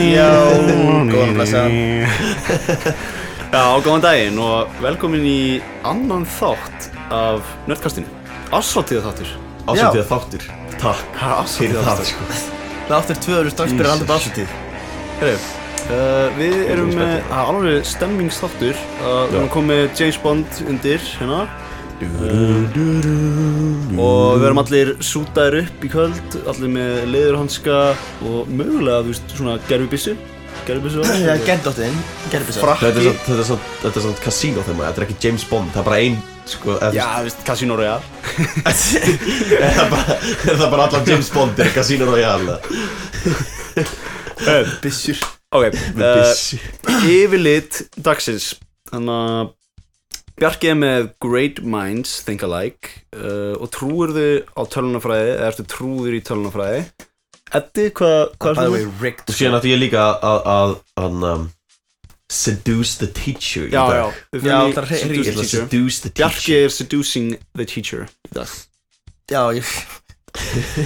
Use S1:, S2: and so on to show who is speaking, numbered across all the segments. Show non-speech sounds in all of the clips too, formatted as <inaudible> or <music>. S1: góðan blessaðan.
S2: Já, góðan daginn og velkomin í annan þátt af Nördkastinu Ársáttíða þáttur
S3: Ásættið þáttur Takk
S2: Ársáttíða
S3: fyrir það
S2: þáttur
S3: sko
S1: Þáttur tvö eru strax byrjar
S3: Jesus.
S1: alltaf afsötið
S2: Herru, uh, við erum með það er alveg stemmingsþáttur uh, Við erum komið James Bond undir hérna Og við erum allir sútaðir upp í kvöld Allir með leðurhanska og mögulega, þú veist, svona gerfibissu Gerfibissu
S3: <laughs>
S2: var
S1: Það er gerðdóttinn, gerðbísar
S3: Þetta er
S2: Frakki
S3: samt- þetta er samt- þetta er samt kasínó þegar maður Þetta er ekki James Bond Það er bara ein sko eða þú
S2: Já,
S3: veist,
S2: þú veist, Casino Royale
S3: <laughs> Það er bara- það er bara allan James Bond er kasínó og ég
S1: Bissur
S2: Eh, Ok,
S3: Eh,
S2: uh,
S3: alveg
S2: yfirlit dagsins þannig að Bjarki er með Great Minds Think Alike uh, og trúir þau á tölunafræði eða ertu trúður í tölunafræði Eddi, hvað hva er
S1: By the way,
S2: það?
S3: Og
S1: rigged
S3: síðan ætti ég líka að- að að, um, Seduce the teacher í
S2: Já, já,
S3: dag.
S2: við förum
S1: Já,
S2: í
S1: það er hrein-
S2: Seduce
S3: Ég
S2: the
S3: ætla að
S2: Teacher.
S3: Seduce the
S2: Bjarki
S3: teacher
S2: er Seducing the Teacher í dag
S1: Já, ég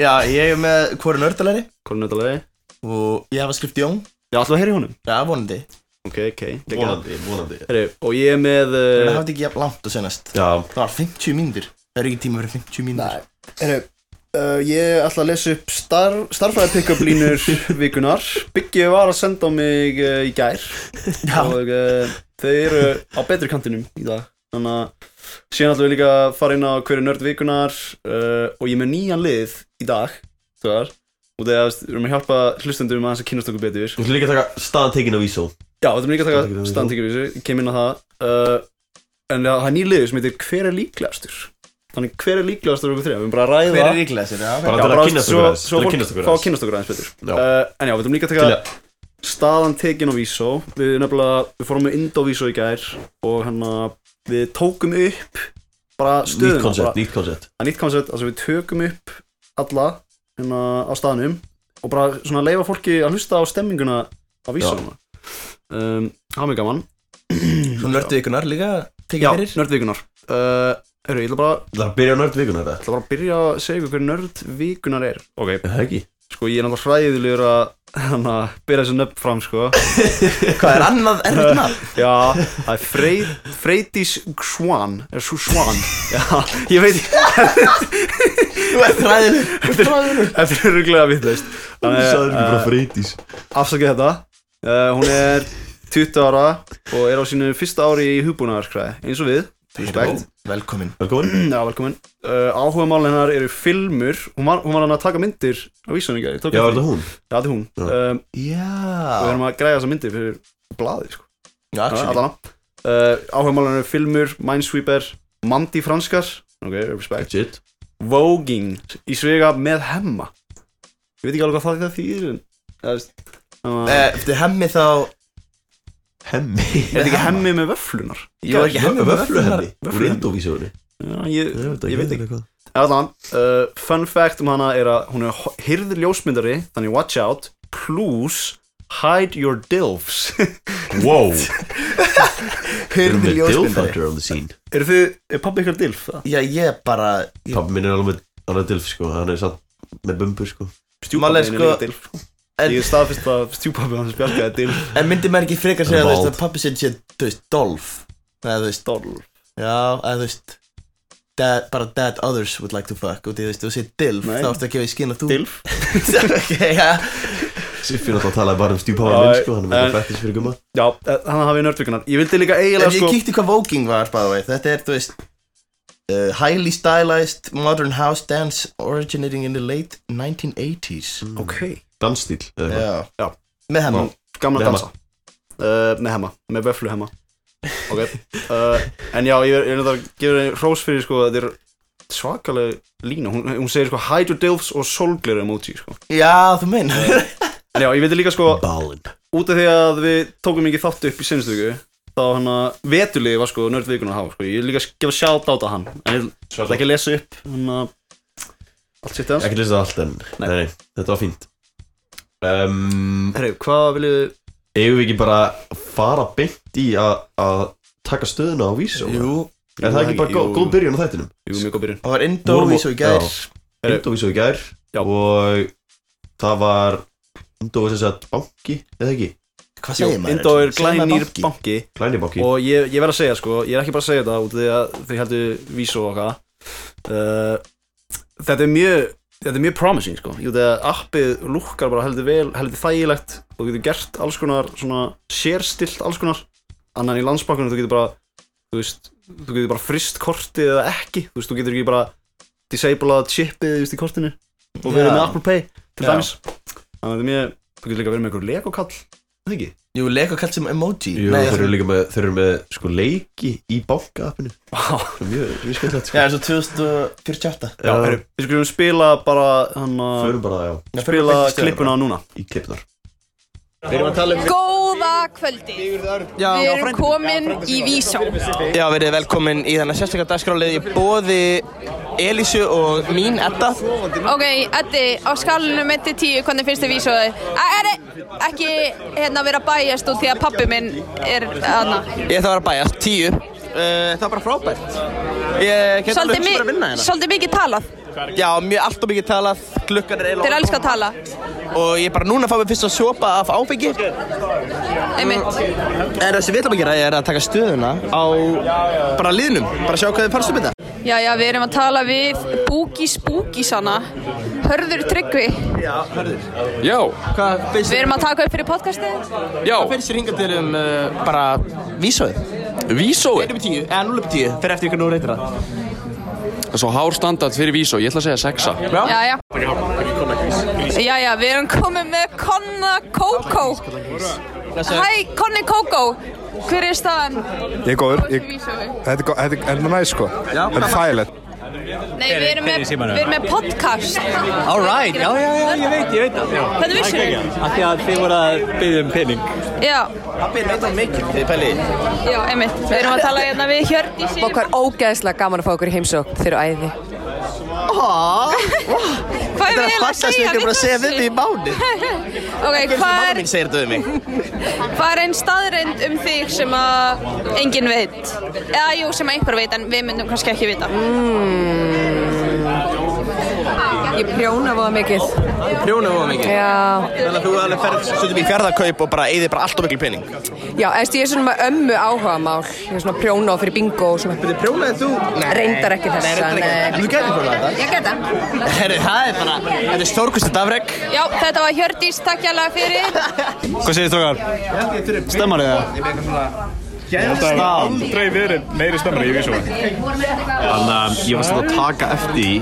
S1: Já, ég er með hvori nördalæri
S2: Hvað er nöðalegi?
S1: Og ég hef að skrift Jón
S2: Já, alltaf að heyra í honum
S1: Já, vonandi
S2: Ok, ok, geggjað.
S3: Vonandi, vonandi
S2: Herri, Og ég er með
S1: En það
S2: uh,
S1: hafði ekki jafn langt að senast
S3: Já,
S1: Það var 50 mínútur Það er ekki tíma fyrir 50 mínútur
S2: Nei, herru Uh, ég ætla að lesa upp star, starfræði pick-up línur vikunar Byggi var að senda á mig uh, í gær
S1: Já.
S2: og uh, þau eru á betri kantinum í dag þannig að síðan ætlum við líka að fara inn á hverju nörd vikunar uh, og ég er með nýjan lið í dag þegar, og það er við erum að hjálpa hlustendum að hans að kynast okkur betur
S3: Þú ætlum líka að taka staðan tekin af Ísó
S2: Já, þetta er líka að
S3: Takk
S2: taka
S3: fyrir það.
S2: standingur í þessu, ég kem inn á það uh, En það það er nýr liður sem heitir Hver er líklegastur? Þannig hver er líklegastur af okkur þrjá? Við erum bara að ræða
S1: Hver er ríkilega sér? Já,
S3: Bara
S2: Já,
S3: til að
S2: bara
S3: kynnast
S2: svo-
S3: okkur aðeins,
S2: Svo
S3: til að
S2: fólk fá að
S3: kynnast okkur aðeins.
S2: kynnast okkur aðeins betur
S3: Já.
S2: uh, En já, við þurfum líka að
S3: Til
S2: taka
S3: að-
S2: staðan tekin á Vísó Við nefnilega, við fórum með Indó Vísó í gær Og hérna, við tókum upp bara stöðuna
S3: Nýtt koncept,
S2: bara-
S3: nýtt koncept
S2: Það er nýtt koncept, altså við tökum upp alla hérna á staðnum Og bara svona leifa fólki að hlusta á stemminguna á Vísó
S3: Já.
S2: um, Það var mjög gaman
S1: Svo nördu ykkurnar líka
S2: Já,
S1: Tekið fyrir
S2: nördvíkunar uh, Hörru, ég ætla bara,
S3: Það er að byrja á nörd vikuna þetta
S2: ætla bara að byrja að segja ykkur hver nördvíkunar er Ok,
S3: Er Það ekki
S2: Sko ég er náttúrulega hræðilegur að hana, byrja þessu nöfn fram sko
S1: Hvað er <laughs> annað erfitt nafn?
S2: Já, það er Frey, Freydís Swan Er svo Swan Já, ég veit
S1: Þú ert ræðileg <laughs> Þú ert ræðileg
S2: Þetta er ruglega vitlaust Þannig, eh,
S3: freytis
S2: Afsakið þetta uh, Hún er 20 ára og er á sínu fyrsta ári í hugbúnaðarskræði eins og við Respekt
S1: Velkomin
S3: Velkomin
S2: Já, velkomin uh, Áhuga mál hennar eru filmur Hún var, hún var hann að taka myndir á vísunninga Já,
S3: Já, er þetta hún?
S2: Já, þetta er hún
S3: Já.
S2: um, Við
S1: Já
S2: erum að græja þessa myndir fyrir blaði sko
S1: Já, actually
S2: Allana uh, Áhugmálinu eru filmur, Minesweeper Mandi franskar Ok, respect
S3: Shit
S2: Voging í svega með hemma Ég veit ekki alveg hvað það þýðir en Það er Það er
S1: Eh, Eftir hemmi þá
S3: <laughs> Hemmi
S2: þetta ekki
S1: hemma?
S2: hemmi með vöflunar
S1: Ég var ekki hemmi með
S3: Vöflu hemmi Úr
S2: Vöfluhemmi.
S3: endovísjónu
S2: Já, ég, ég veit ekki
S3: hvað
S2: Allan, uh, fun fact um hana er að hún er ho- hirð ljósmyndari Þannig watch out Plus Hide your dilfs <laughs>
S3: Wow Erum
S1: Hörðu
S3: við
S1: ljósmyndari
S3: Dilfhunter on the scene
S2: Eru þið, er pabbi ykkur dilf? það?
S1: Já, ég er bara ég-
S3: Pappi minn er alveg með Hann er dilf sko Hann er satt með bumbur sko
S2: Stjúpabbi
S1: Málega,
S2: minn er
S1: sko,
S2: líka dilf
S1: en-
S2: Ég er staðfist að stjúpabbi hans bjargaði dilf
S1: En myndi maður ekki frekar segja
S3: En
S1: þú veist,
S3: vald.
S1: að pappi sinn sé, þú veist, Dolph Eða þú veist,
S2: Dolf
S1: já, eða þú veist Dad, bara dad others would like to fuck og því, þú veist, þú segir Dilf,
S2: Nei.
S1: þá ertu að gefa í skinn að þú
S2: Dilf
S1: <laughs> ok, já
S3: Siffi náttúrulega talaði bara um
S2: Já,
S3: stjúpáðan minn sko Hann er með
S2: en-
S3: fættis fyrir gumma
S2: Já, eh, þannig að hafi nördvíkunar Ég vildi líka
S1: En
S2: eiginlega
S1: ég
S2: sko
S1: kíkti hvað voking var, by the way Þetta er, þú veist uh, Highly stylized modern house dance originating in the late 1980s
S2: Ok
S3: Dansstíl eða eitthvað.
S1: Já,
S2: Já.
S1: með hann
S3: Mm. Já.
S2: Gamla
S3: Með
S2: dansa uh, Með hemma Með vöflu hemma <laughs> Ok uh, En já, ég er ég er náttúrulega að gefa henni hrós fyrir sko að Þetta er svakalega lína Hún, hún segir sko hide your dilfs og solgleru emoji sko
S1: Já, þú meina
S2: En já, ég vildi líka sko
S3: Ballin
S2: Út af því að við tókum ekki þátt upp í sinnstöku Þá hann að vetulegi var sko nördvíkunar hafa sko Ég vil líka gefa sjátt á hann En ég ætla ekki að lesa upp Hann að Allt sitt hans
S3: Ekki lesa allt en
S2: Nei.
S3: Nei, nei Þetta var fínt um,
S2: Herru, hvað viljið
S3: Eigum við ekki bara að Fara beint í að Að taka stöðuna á vísó
S1: <laughs> Jú,
S3: Er það ekki bara
S2: jú,
S3: góð-
S2: jú.
S3: góð byrjun á þættinum
S2: Jú, mjög góð byrjun
S1: það var Indó
S3: Vorum-
S1: í svo í gær
S3: Já.
S2: Herru.
S3: Indovísu í gær
S2: Já.
S3: og það var Indovísu sem sagt banki, eða ekki,
S1: Hvað
S2: Jú,
S1: segir maður?
S2: Indó er
S1: Segir maður
S2: glænýr
S1: banki?
S2: banki
S3: klæni banki
S2: og ég, ég verð að segja sko, ég er ekki bara að segja þetta út af því að þau heldur vísu og hvað uh, þetta er mjög þetta er mjög promising sko, jú þegar appið lukkar bara heldur vel, heldur þægilegt og þú getur gert alls konar svona sérstilt alls konar, annan í landsbankunum þú getur bara, þú veist þú getur bara frist kortið eða ekki þú veist, þú getur ekki bara disablað chipið, þú veist, í kortinu og verið
S1: Já.
S2: með Apple Pay til
S1: Já.
S2: dæmis þannig að þetta er mjög, þú getur líka verið með einhver legokall,
S1: <laughs>
S2: það ekki?
S1: Jú, lego kallt sem emoji
S3: Jú,
S1: Nei,
S3: þeir eru líka með, þeir eru með sko leiki í banka appinu
S2: Vá,
S3: mjög, mjög skemmtilegt
S1: Já,
S3: sko.
S1: eins og 2048
S2: Já,
S3: Já.
S2: heyrðu, við skulum spila bara hann að
S3: förum bara, já,
S1: Nei, förum
S2: spila
S1: bara beint í stöðuna.
S2: klippuna núna
S3: í klippnar
S4: Við erum að tala um
S5: Góða kvöldi,
S4: Já,
S5: við erum komin í Vísó
S4: já verið velkomin í þennan sérstaklega dagskrálið í bóði Elísu og mín Edda
S5: Ok, Eddi, á skalunum 1-10, hvernig finnst þið Vísóði? Er ekki hérna vera bæjast út því að pappi minn er hana
S4: Ég ætla að vera að bæjast, tíu uh, Það er bara frábært Ég get alveg hugsa bara að vinna hérna
S5: svolítið mikið talað,
S4: Já, mjög allt og mikið talað, glukkan er
S5: þeir
S4: eiginlega
S5: elska að tala
S4: elskar Og ég er bara núna að fá mig fyrst að sopa af áfengi
S5: Einmitt,
S4: En það sem við ætlum að gera er að taka stöðuna á bara liðnum Bara sjá hvað þið fannst um þetta
S5: já já, við erum að tala við Búkis Búkisana Hörður Tryggvi
S6: Já,
S4: Hvað finnst
S5: Við erum að taka upp fyrir podcastið
S6: já,
S4: Fyrir sér hinga til um uh, bara vísóið
S6: vísói
S4: 1 upp í 10, eða 0 upp í 10, fyrir eftir ykkur nú reytir það
S6: Það er svo hár standard fyrir vísó, ég ætla að segja sexa
S5: Já já Já já, við erum komin með Konna Kókó Hæ, Konni Kókó Hver er staðan?
S7: Ég er góður, ég,
S5: Nei,
S7: þetta er gó- þetta er- þetta er næst sko, þetta er þægilegt.
S5: við erum með, við erum með podcast
S8: Alright, já, já, já, ég veit, ég veit það já.
S5: Hvernig vissir þau?
S8: Af því að þið voru að byggja um pening
S5: Já,
S4: Pappi er neitt á mikil, þið pæli
S5: já, einmitt Við erum að tala hérna við Hjördís
S9: Og hvað er ógeðslega gaman að fá okkur í heimsókn þeir eru æði.
S5: Hvað er við eiginlega að segja
S4: bara að segja við mig í mánu
S5: Ok, hvað
S4: Mamma
S5: er,
S4: mín segir þetta við mig
S5: hvað er einn staðreind um þig sem að enginn veit? Já, jú, sem að einhver veit en við myndum kannski ekki vita
S9: Ég prjóna voða mikið.
S4: Prjónu og mikið
S9: Já,
S4: Þannig að þú alveg ferð stundum í fjarðakaup og bara eigði bara allt og mikil pening
S9: já, eðst, ég er svona með ömmu áhuga mál. Ég er svona að prjóna og fyrir bingo og svona.
S4: Prjónaði þú?
S9: Reyndar ekki þessa,
S4: Nei, reyndar ekki
S9: nei.
S4: En þú gæti prjónað þetta
S9: Ég geta.
S4: Herri, það er bara Þetta er stórkusti dafreg
S5: Já, þetta var Hjördís, takk jæglega fyrir
S8: Hvað segir strókar? Stemmar eða?
S10: aldrei verið meiri stemmari í vísum
S3: Þannig að ég var svona að taka eftir í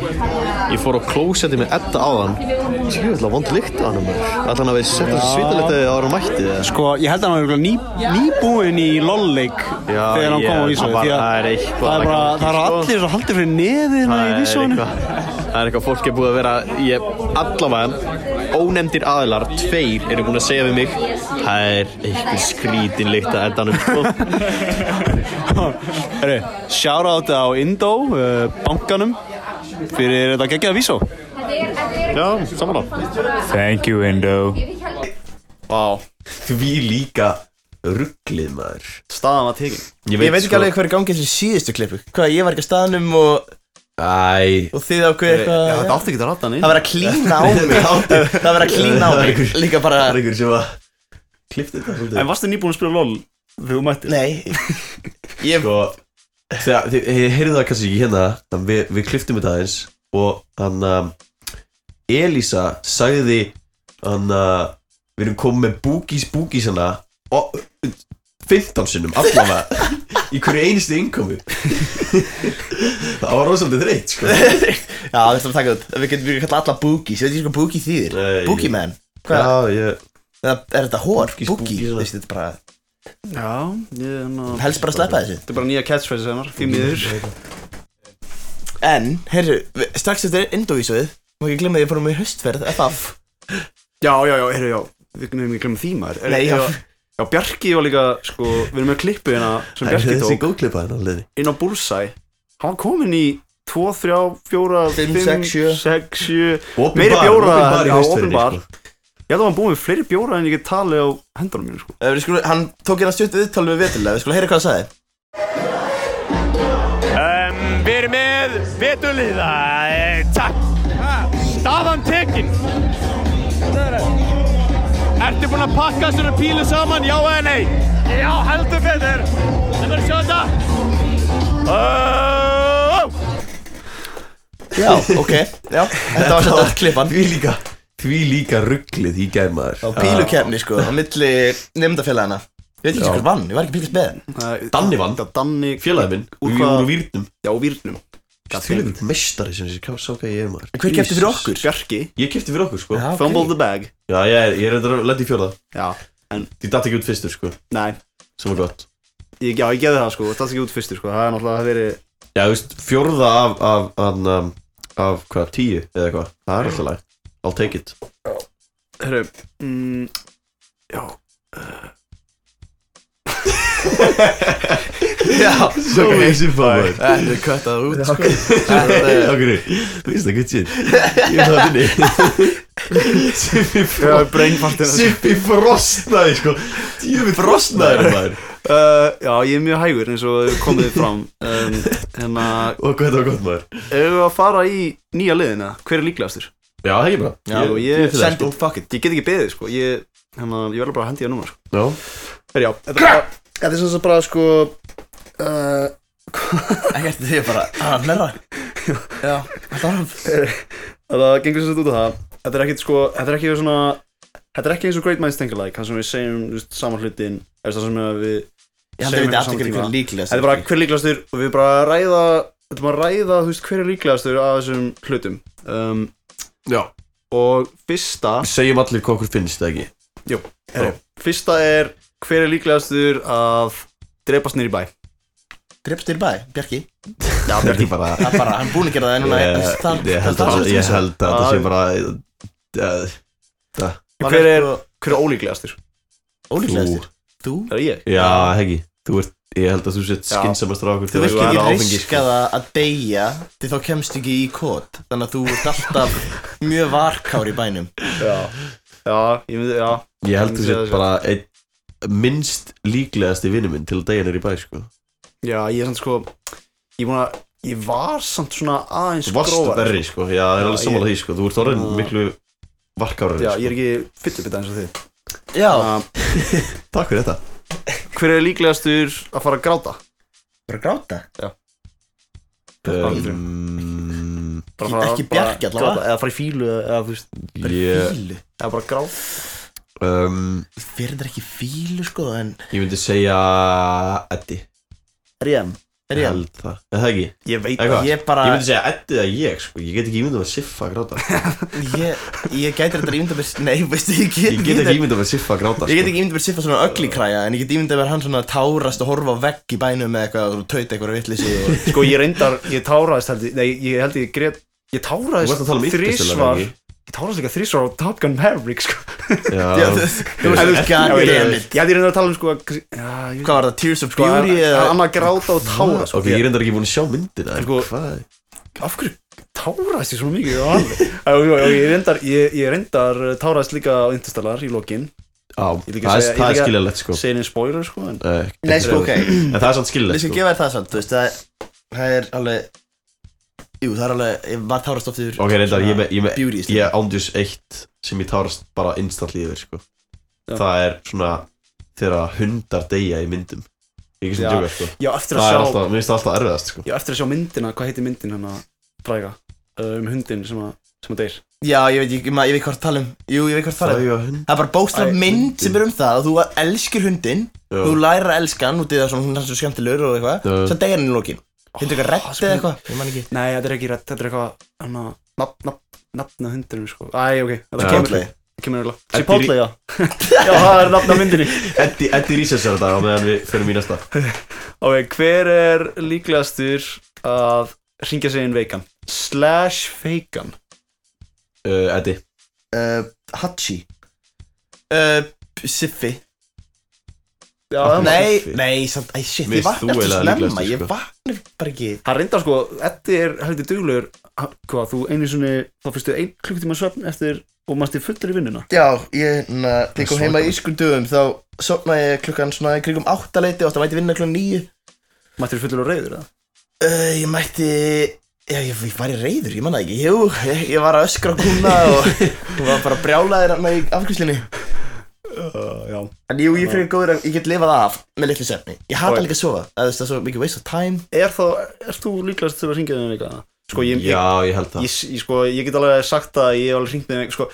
S3: Ég fór á klósetti með Edda áðan Ég ætla vond lykt á hann Ætla hann að við setja þessu svítalegt að það var mætti það
S8: Sko, ég held að hann var örugglega ný, nýbúinn í lolleik
S3: Já,
S8: þegar hann
S3: ég-
S8: kom á vísó
S3: hann var-
S8: því að
S3: það er eitthvað
S8: það er bara,
S3: að gangi,
S8: það er
S3: sko.
S8: allir svo haldið fyrir neðina í vísónu
S3: Það er eitthvað fólk er búið að vera ég, Allavega Ónefndir aðilar Tveir eru búin að segja við mig Það er eitthvað skrítin lykt að Eddanum sko.
S8: Herru, shoutout á Indó, uh, bankanum fyrir þetta geggjaða vísó
S3: Já, samanlá
S10: Thank you Indo
S2: Vá,
S3: Því líka <laughs> rugglið maður
S2: staðan var tekin
S1: Ég veit,
S3: sko-
S1: ekki alveg hver er gangið þessi síðustu klippu Hvað, ég var ekki að staðnum og,
S3: Æ
S1: og þið ákveð eitthvað
S2: Já, þetta átti ekki að rata hann
S1: Það verður að klína
S3: <laughs>
S1: á mig Það verður að klína á
S3: Það er
S1: mig
S3: ykkur-
S1: Líka bara
S3: Það er ykkur sem að Klifti þetta svolítið
S2: En varstu nýbúin að spila LOL þegar þú mættir?
S3: <laughs>
S1: Nei Ég
S3: sko, þegar, þið, þið heyrðu það kannski ekki hérna þannig við, við kliftum þetta aðeins og hann um, Elísa sagði hann að við erum komið með búkís búkís hana og 15 sinnum allavega í hverju einustu innkomu <laughs> það var rosalega þreytt sko
S2: <laughs>
S1: Já, það er það að taka út Við getum við kalla alla boogies Ég veit ekki hvað boogie þýðir
S3: Nei.
S1: Boogie man Hvað,
S3: já ég
S1: eða er þetta hór?
S3: Boogies,
S1: Boogie,
S3: boogies,
S1: þú veist, þetta er bara
S2: Já, ég er að
S1: Helst bara að sleppa þessu
S2: Þetta er bara nýja catchphrase hennar, því miður
S1: En, heyrðu, við- strax eftir Indovísuð Má ekki glemma því að fórum í haustferð FF
S2: Já, já, já, heyrðu, já Við nefnum ekki að glemma því maður Er-
S1: Nei, já.
S2: Já, já, Bjarki var líka, sko, við erum með klippu hérna sem
S3: Það er
S2: Bjarki
S3: þessi
S2: tók
S3: góðklipa hann alveg
S2: inn á Bullseye Hann var kominn í 2, 3, 4,
S1: Fimm,
S2: 5,
S1: sex, sjö.
S2: 6, 7 Meiri bjóra,
S3: opinbar í
S2: já,
S3: haustferðinni
S2: opinbar.
S3: sko.
S2: Ég held að hann búið með fleiri bjóra en ég get talið á hendunum mínu sko.
S1: Eh, Við skulum, hann tók hérna stjórn viðtal við veturlega Við skulum heyra hvað það sagði
S10: um, Við erum með Betulíða Takk
S11: eh, Staðan tekin Ertu búinn að pakka þessari pílu saman, já eða nei? Já, heldur betur Það verður sjá þetta oh!
S1: Já, ok, já, þetta var svolítið klippan
S3: Því líka, því líka rugglið í gæmaður
S1: Á pílukefni sko, á milli nefndafélagana Ég veit ekki
S3: Já.
S1: hver vann, ég var ekki fylgast með
S3: Danni vann,
S2: Danni,
S3: félagið minn
S2: Úr
S3: Úr
S2: hvað-
S3: hvað? Úr výrnum
S2: Já, výrnum
S3: Þvílegur meistari sem þessi sáka ég er maður
S1: En hver keypti fyrir
S2: okkur? Bjarki
S3: Ég kefti fyrir okkur sko
S2: Já, ok. Fumble the bag.
S3: Já, ég er, ég er reyndar að lendi í fjóða
S2: Já, en
S3: Því datt ekki út fyrstur sko
S2: Nei
S3: Sem var gott
S2: ég, Já, ég geði það sko, það er ekki út fyrstur sko Það er náttúrulega verið
S3: Já, þú veist, fjórða af, af, af, af, af hvað, tíu eða eitthvað Það er alltaf læg I'll take it
S2: Herru mm, Já
S1: Já,
S3: Svo easy for <laughs> maður
S1: Þetta er köttað út sko
S3: Okkur, þú veist það good shit Ég er það minni Siffi
S2: Já, brainfartinn.
S3: Siffi frostnaði sko Djöfi frostnaði maður
S2: uh, Já, ég er mjög hægur eins og komið fram um, Hérna
S3: Og hvað þetta var gott maður
S2: Ef við að fara í nýja liðina, hver er líklegastur?
S3: Já, það er ekki bara
S2: Já, ég, ég,
S3: til það, sko.
S2: fuck it Ég get ekki beðið sko Ég, hérna, ég verður bara að hendi það núna sko
S3: Já
S2: Herru, já Þetta er bara Þetta er sem sagt bara sko uh,
S1: Ekkert því bara, að hlæra Já, þetta var hann
S2: Það gengur sem sagt út af það Þetta er ekkit sko Þetta er ekki svona Þetta er ekki eins og Great Minds Think Alike Þannig sem við segjum þú veist, saman hlutin Eða það sem að við
S1: Ég held að
S2: segjum
S1: við
S2: eitthvað
S1: viti allir
S2: sama tíma. Þetta
S1: hver- hver líklegastur.
S2: er bara hver er líklegastur Og við bara ræða Þetta er bara að ræða Þú veist hver er líklegastur Af þessum hlutum um,
S3: Já
S2: Og fyrsta
S3: Segjum allir hvað okkur finnst það ekki
S2: Jú herri, Fyrsta er Hver er líklegastur Að drepast niður í bæ
S1: Drepst þér í bæ, Bjarki
S2: Já,
S3: Þetta er bara
S1: Það er bara, hann er búinn að gera það núna
S3: Ég-
S1: það-
S3: Ég held
S1: það-
S3: að
S1: það-
S3: ég held að þetta sé bara eh, það-
S2: Hver er, hver er ólíklegastur?
S1: Ólíklegastur? Þú?
S2: Það er ég
S3: Já, hegi, þú ert Ég held að þú sett
S2: Já.
S3: skinsamast rákur
S1: Þú vilt ekki
S3: sko.
S1: riska það að deyja því þá kemst ekki í kót Þannig að þú ert alltaf mjög varkár í bænum
S2: Já, já, ég myndi, já
S3: Ég held þú
S2: myndi
S3: sett
S2: segja
S3: bara einn minnst líklegasti vinnu minn til að degja nýri bæ sko.
S2: Já, ég er samt sko Ég, búin að, ég var samt svona aðeins
S3: Þú varst
S2: grófari,
S3: verri sko. Já, það er alveg
S2: Já,
S3: sammála
S2: ég-
S3: því sko. Þú ert orðin
S2: Já.
S3: miklu varkárari
S2: Já,
S3: sko.
S2: ég er ekki fyllibita eins og þið
S1: Já
S3: Takk fyrir þetta
S2: Hver er líklegastur að fara að gráta?
S1: Bara gráta?
S2: Já
S3: um,
S2: bara fara,
S1: Ekki
S2: bara
S1: Bjarki allavega.
S2: gráta, Eða fara í fílu eða, eða þú veist
S3: Ég-
S2: Eða bara gráta
S3: um,
S1: Fyrir þetta ekki fílu sko en
S3: Ég myndi segja Eddi
S2: Rém
S1: Er ég?
S3: held það, er það ekki?
S2: Ég veit
S3: Eitthvað?
S1: Ég bara-
S3: Ég myndi segja Eddi eða ég sko. Ég get ekki ímyndað að siffa að gráta
S1: Ég, ég gæti þetta ímynda mér Nei, veistu, ég get,
S3: Ég get ekki ímyndað sko. að siffa að gráta
S1: Ég get ekki ímynda mér siffa svona ögli kræja En ég get ímynda mér hann svona tárast og horfa á vegg í bænum Með eitthvað og tauta eitthvað vitleysi og...
S2: Sko, ég reyndar, ég táraðist held ég Nei, ég held ég grét Ég
S3: Þú varst að tala um
S2: táraðist þrísvar
S3: Interstellar, ekki?
S2: Ég táraðist líka þrísvar á Top Gun Maverick sko
S3: <laughs>
S1: Já,
S3: Já,
S1: þú- þú
S2: En þú
S1: veist,
S2: veist-
S1: god
S2: Já, ég-
S1: damn it.
S2: Ég held ég reyndar að tala um sko að- já, ég-
S1: Hvað var það, Tears of
S2: Sko,
S1: Beauty
S2: en-
S1: eða
S2: en annað gráta og tára sko.
S3: Ok, ég er reyndar ekki búin að sjá myndina en
S2: Sko-
S3: Hvað?
S2: af hverju táraðist ég svona mikið á alveg? Já, já, já, ég reyndar, ég, ég reyndar uh, táraðist líka á Interstellar í lokin
S3: Á,
S2: Ég
S3: það er- það er skiljalegt sko
S2: segja neinn spoiler sko en,
S3: Eh,
S1: Nei, sko, ok.
S3: En það er samt skiljalegt
S1: Við
S3: sko
S1: skal gefa þér það samt, þú veist, það er, það er alveg Jú, það er alveg, ég var tárast oft yfir
S3: Ok, reyndar, ég, með- ég, með-
S1: beauty
S3: ég ándjus eitt sem ég tárast bara instantly yfir, sko Það er svona þegar hundar deyja í myndum Ég er
S2: Já.
S3: ekki svona djóka, sko
S2: Já, eftir að
S3: Það er
S2: sjá-
S3: alltaf, mér finnst það alltaf erfiðast, sko
S2: já, eftir að sjá myndina, hvað heitir myndin hann að fræga uh, um hundin sem að sem að deyr
S1: Já, ég veit, ég, ma- ég veit hvað það tala um Jú, ég veit hvað það
S3: Fræga
S1: tala um
S3: hund.
S1: Það er bara bókstaf
S3: Æ,
S1: mynd sem er um það að Þú elskir hundinn,
S3: Já.
S1: þú lærir að elska hann Þú deyðar svona, hún er svo skemmtilegur og eitthvað
S3: Já.
S1: Svo deyjar hann í lokin Þetta er eitthvað rett eða eitthvað, ég man ekki
S2: Nei, þetta er ekki rétt, þetta er eitthvað hann að nafn, nafn, nafn að hundinum sko Æ, ok, þetta
S3: Já.
S2: kemur
S1: Chipotle.
S2: kemur eiginlega.
S3: Eddi-
S2: Chipotle, já <laughs> Já, það er nafn að myndinni
S3: Eddi, Eddi Rísessar þetta á meðan við förum í næsta
S2: Ok, hver er líklegastur að ringja sig inn veikan? Slash feikan
S3: uh, Eddi
S1: uh, Hachi uh, Siffi
S2: Já,
S1: Nei, nei, samt, æ, shit,
S3: Mér
S1: ég
S3: finnst þú
S1: vakna alltaf
S3: eiginlega
S1: snemma
S3: líklegastur,
S1: Ég
S3: sko.
S1: vakna bara ekki
S2: Það reyndar sko, Eddi er heldur duglegur ha- Hvað, þú einu svona Þá fyrstu ein klukkutíma svefn eftir Og mannst þið fullir í vinnuna
S1: Já, ég, na, þegar ég kom heima í
S2: svakalegt.
S1: ískum dögum þá sopna ég klukkan svona í kringum áttaleiti og það mætti vinna klukkan nýju
S2: Mættir þið fullir og reyður eða?
S1: uh, Ég Eh, mætti, ég, ég, ég var í reyður, ég manna ekki Jú, ég, ég var að öskra á kúna og hún var bara brjálaðir hérna í afkvæslinni
S2: uh,
S1: En jú, ég er fyrir góður að ég get lifað af með litlu sefni Ég hata
S2: Oj.
S1: líka að sofa, eða þú veist það er svo mikið waste of time
S2: Er þá, ert þú líklegast til að ringja þeim eitthvað? Sko, ég,
S3: Já, ég held það.
S2: Ég, ég, sko, ég get alveg sagt það, ég hef alveg ringt með þeim sko,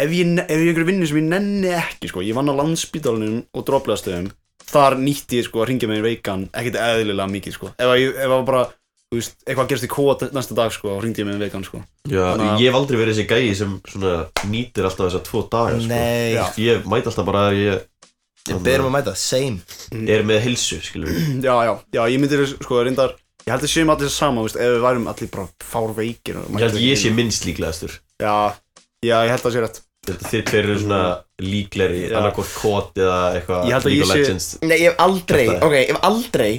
S2: Ef ég, ne- ef ég einhverju vinnu sem ég nenni ekki sko, Ég vann á landspítalunum og droplegastöðum Þar nýtti ég sko að ringja með þeim veikan Ekkert eðlilega mikið sko Ef, að ég, ef að bara, þú veist, eitthvað gerst í kóa næsta dag sko Og ringdi ég með þeim veikan sko
S3: Já,
S2: Þannig að-
S3: ég hef aldrei verið þessi gæi sem svona nýtir alltaf þessa tvo daga sko.
S1: Nei.
S3: Já. Ég mæti alltaf bara að ég Ég
S1: berum að mæta, same
S3: Er með hilsu, skilur við
S2: Já, já, já, ég myndi sko reyndar Ég held að séum allir saman, þú veist, ef við værum allir bara fár veikir
S3: Ég held að ég sé minnst líklegastur
S2: Já, já, ég held að sé rétt
S3: Ég held að Þið tveir eru svona líklegri
S2: Mm. Já.
S3: annarkort kót eða eitthvað
S2: Ég held að
S3: League
S2: ég
S3: of
S2: sé-
S3: Legends.
S1: Nei, ég hef aldrei,
S3: Þetta er-
S1: ok, ég hef aldrei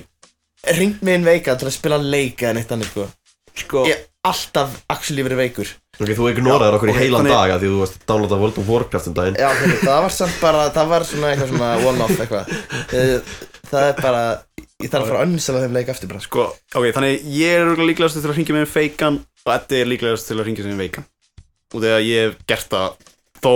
S1: ringt mig inn veika til að spila leika en eitt annir, sko
S2: Sko
S1: Ég hef alltaf actually verið veikur
S3: Ok, þú ignoraðir
S1: Já,
S3: okkur í
S1: ok,
S3: heilan
S1: þannig-
S3: dag af Því þú varst að downloada World of Warcraft um daginn
S1: Já, fyrir, það var samt bara, það var svona eitthvað svona one-off eitthvað Eh, Það er bara, ég þarf að fara að önnsala þeim leik eftir bara
S2: Sko, ok, þannig ég er örugglega líklegast til að hringja með feikan og Eddi er líklegast til að hringja sem veikan og þegar ég hef gert það þó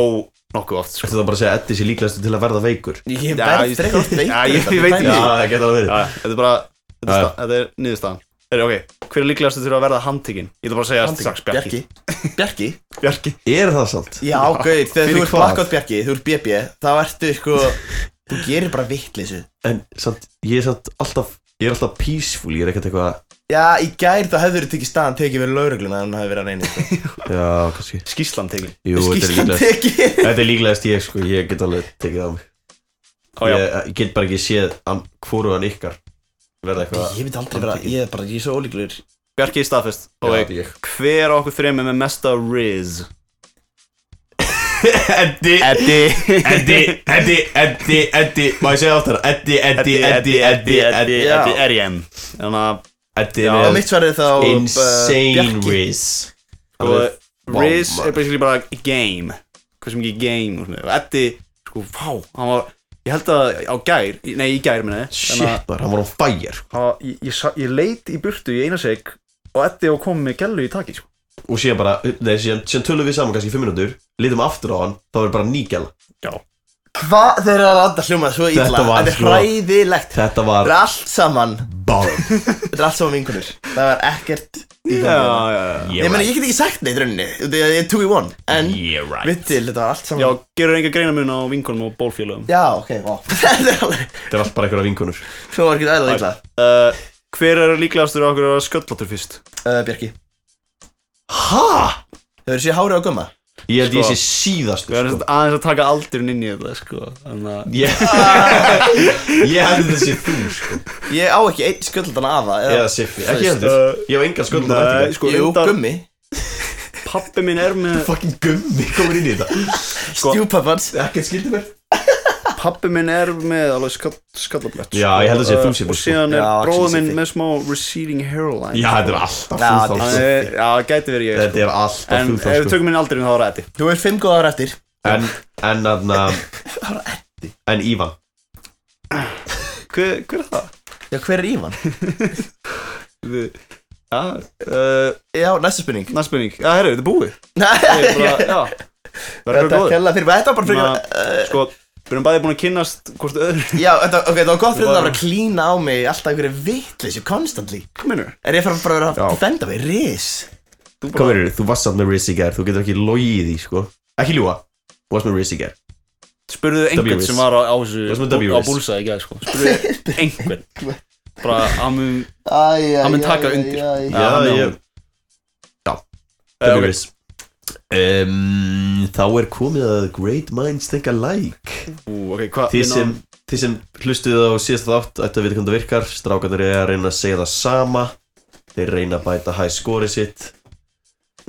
S2: nokkuð oft sko.
S3: Þetta bara að segja að Eddi sé líklegastur til að verða veikur
S1: Ég
S2: Já,
S1: verð
S2: ég-
S1: frekar oft veikur
S2: Já, ég,
S1: þetta,
S2: ég veit
S1: dæmi.
S2: ekki
S3: Já, það geta alveg verið.
S2: Já, Þetta er bara, þetta er,
S3: Já, já.
S2: sta, þetta er niðurstaðan Heri, ok, hver er líklegast til að verða handtekinn? Ég ætla bara að segja
S1: Handtekinn.
S2: strax Bjarki
S1: Bjarki?
S2: Bjarki
S3: Er það sant?
S1: Já, gauð, þegar
S3: Fyrir
S1: þú ert
S3: hvað?
S1: blackout Bjarki, þú ert BB þá ertu sko, þú gerir bara vittleysu
S3: En samt, ég er samt alltaf Ég er alltaf peaceful, ég er ekkert eitthvað
S1: Já, í gær þá hefur þú tekið staðan tekið verið laurugluna en það hefur verið að reyni sko.
S3: Já, kannski
S2: Skíslan tekinn
S3: Jú, þetta er
S1: Skýrslan
S3: líklegast
S1: tekið
S3: Þetta er líklegast ég, sko Ég get alveg tekið það á mig
S2: Ó, já.
S3: ég, ég get bara ekki séð an- hvoruðan ykkar verða eitthvað
S1: Ég myndi aldrei vera, ég er bara, ég er svo ólíklegur
S2: Bjarki er staðfest
S3: Já,
S2: Ok,
S3: þetta er ég.
S2: hver á okkur þrejum er með mesta riz?
S3: Eddi
S2: Eddi
S3: Eddi, Eddi, Eddi, Eddi Má ég segja áttara? Eddi, Eddi, Eddi, Eddi, Eddi, Eddi
S2: er ég enn Þannig að
S3: Eddi
S2: Já,
S3: er
S1: mitt svar er þá, uh,
S3: Insane
S1: Bjarki.
S3: Riz
S2: sko,
S3: Alveg- Vá,
S2: Riz er
S3: maður.
S2: basically bara game hversu mikið game og svona. og Eddi, sko, vá, hann var ég held að á gær, nei í gær minni
S3: Shit, maður, hann var á fire
S2: ég, ég, sa- ég leit í burtu í eina seg og Eddi var komið með gælu í taki sko.
S3: Og síðan bara, nei, síðan, síðan tölum við saman kannski í fimm minútur Lítum aftur á hann, þá er bara nýgjala
S1: Hvað þeir eru að landa hljóma svo illa?
S3: Þetta var
S1: Þetta er
S3: sko-
S1: hræðilegt
S3: Þetta
S1: Þetta
S3: var
S1: er allt saman
S3: Bang
S1: Þetta er allt saman vinkunir Það var ekkert í
S2: já,
S1: gangi
S2: já, já,
S1: Ég meni, ég get ekki sagt neitt rauninni Þetta er- Ég er 2 í 1 En
S3: Yeah, right
S1: vittil, þetta var allt
S2: já
S1: saman
S2: gerur enga greina mun á vinkunum og bólfélögum
S1: Já, ok, vá <laughs> Þetta er alveg
S3: Þetta er allt bara einhverja vinkunur
S1: Svo var ekki aðeins illa
S2: uh, hver er líklegastur á okkur að vera sköllotur fyrst?
S1: Uh, Bjarki
S3: Ha?
S1: Þau eru sér hárið á gumma
S3: Ég held ég
S2: Sko.
S3: sé síðast
S2: við erum
S3: sko.
S2: sko. aðeins að taka aldurinn inn í þetta sko. þannig að
S3: Ég Ég <laughs> held þetta sé þú sko
S1: Ég á ekki einn sköldan afa
S3: Eða Siffi, ekki
S1: Þú veist,
S3: heldur Ég hef engan sköldum
S2: Nei, sko,
S1: Jú,
S2: reyndar-
S1: gummi
S2: pabbi minn er með
S3: Fucking gummi komur inn í þetta
S1: Stjúpappans
S3: Sko- Ekkert skildi mér
S2: <laughs> pabbi minn er með alveg skall, skallablett
S3: Já, ég held að sé þú sé
S2: og
S3: fyrst, sko.
S2: síðan er
S1: Já,
S2: bróður
S1: Axel sé
S2: minn
S1: fyrst.
S2: með smá receding hairline
S3: Já, þetta er alltaf þú
S1: Já,
S3: þá
S1: þetta
S2: Hann
S1: er-
S3: sko.
S2: er- já, það gæti verið ég sko.
S3: Þetta er alltaf
S2: en
S3: þú þá
S2: ef við
S3: sko.
S2: tökum minn aldrei þá er þetta
S1: Þú er 5 góða ára eftir
S3: En, en aðna
S2: <laughs>
S3: En Ívan
S2: hver, hver er það?
S1: Já, hver er Ívan?
S3: <laughs>
S2: Við- já, uh,
S1: Já, næsta spurning
S2: næst spurning já, herru, þetta er búið Ég er
S1: Þetta
S2: bara, <laughs> já, verður
S1: er
S2: góður
S1: kella fyrir Þetta var bara fyrir Eh,
S2: Ná, sko, við erum bæði búin að kynnast hvort
S1: <laughs>
S2: öðru
S1: Já, þetta, ok, það var gott
S2: Bara-
S1: fyrir þetta að vera að klína á mig Alltaf einhverju vitleysu, constantly
S2: Minur,
S1: Er ég fyrir að bara vera
S3: Já.
S1: að defenda mig, ris
S2: þú
S3: Hvað
S2: bara,
S3: verður, þú varst samt með Riz í gær Þú getur ekki logið í sko Ekki ljúa Þú varst með Riz í gær
S2: spurðu einhvern
S3: W's.
S2: sem var á, á,
S3: Þú varst
S2: þessu,
S3: með
S2: á
S3: W's.
S2: búlsa í gæð sko.
S1: <laughs>
S2: spurðu einhvern bara, hann mun <laughs>
S1: Hann
S2: Hann mun taka undir. Já,
S1: Ég
S3: Já,
S2: já.
S3: ég Já,
S2: Eh, ok.
S3: Riz um, Þá er komið að Great minds think alike
S2: ú, Eh, ok, hvað hérna,
S3: Þið
S2: við
S3: sem,
S2: náum-
S3: þið sem hlustuðu á síðast þátt ættu að vita hvernig það virkar Strákarnir er að reyna að segja það sama Þeir reyna að bæta hæ skori sitt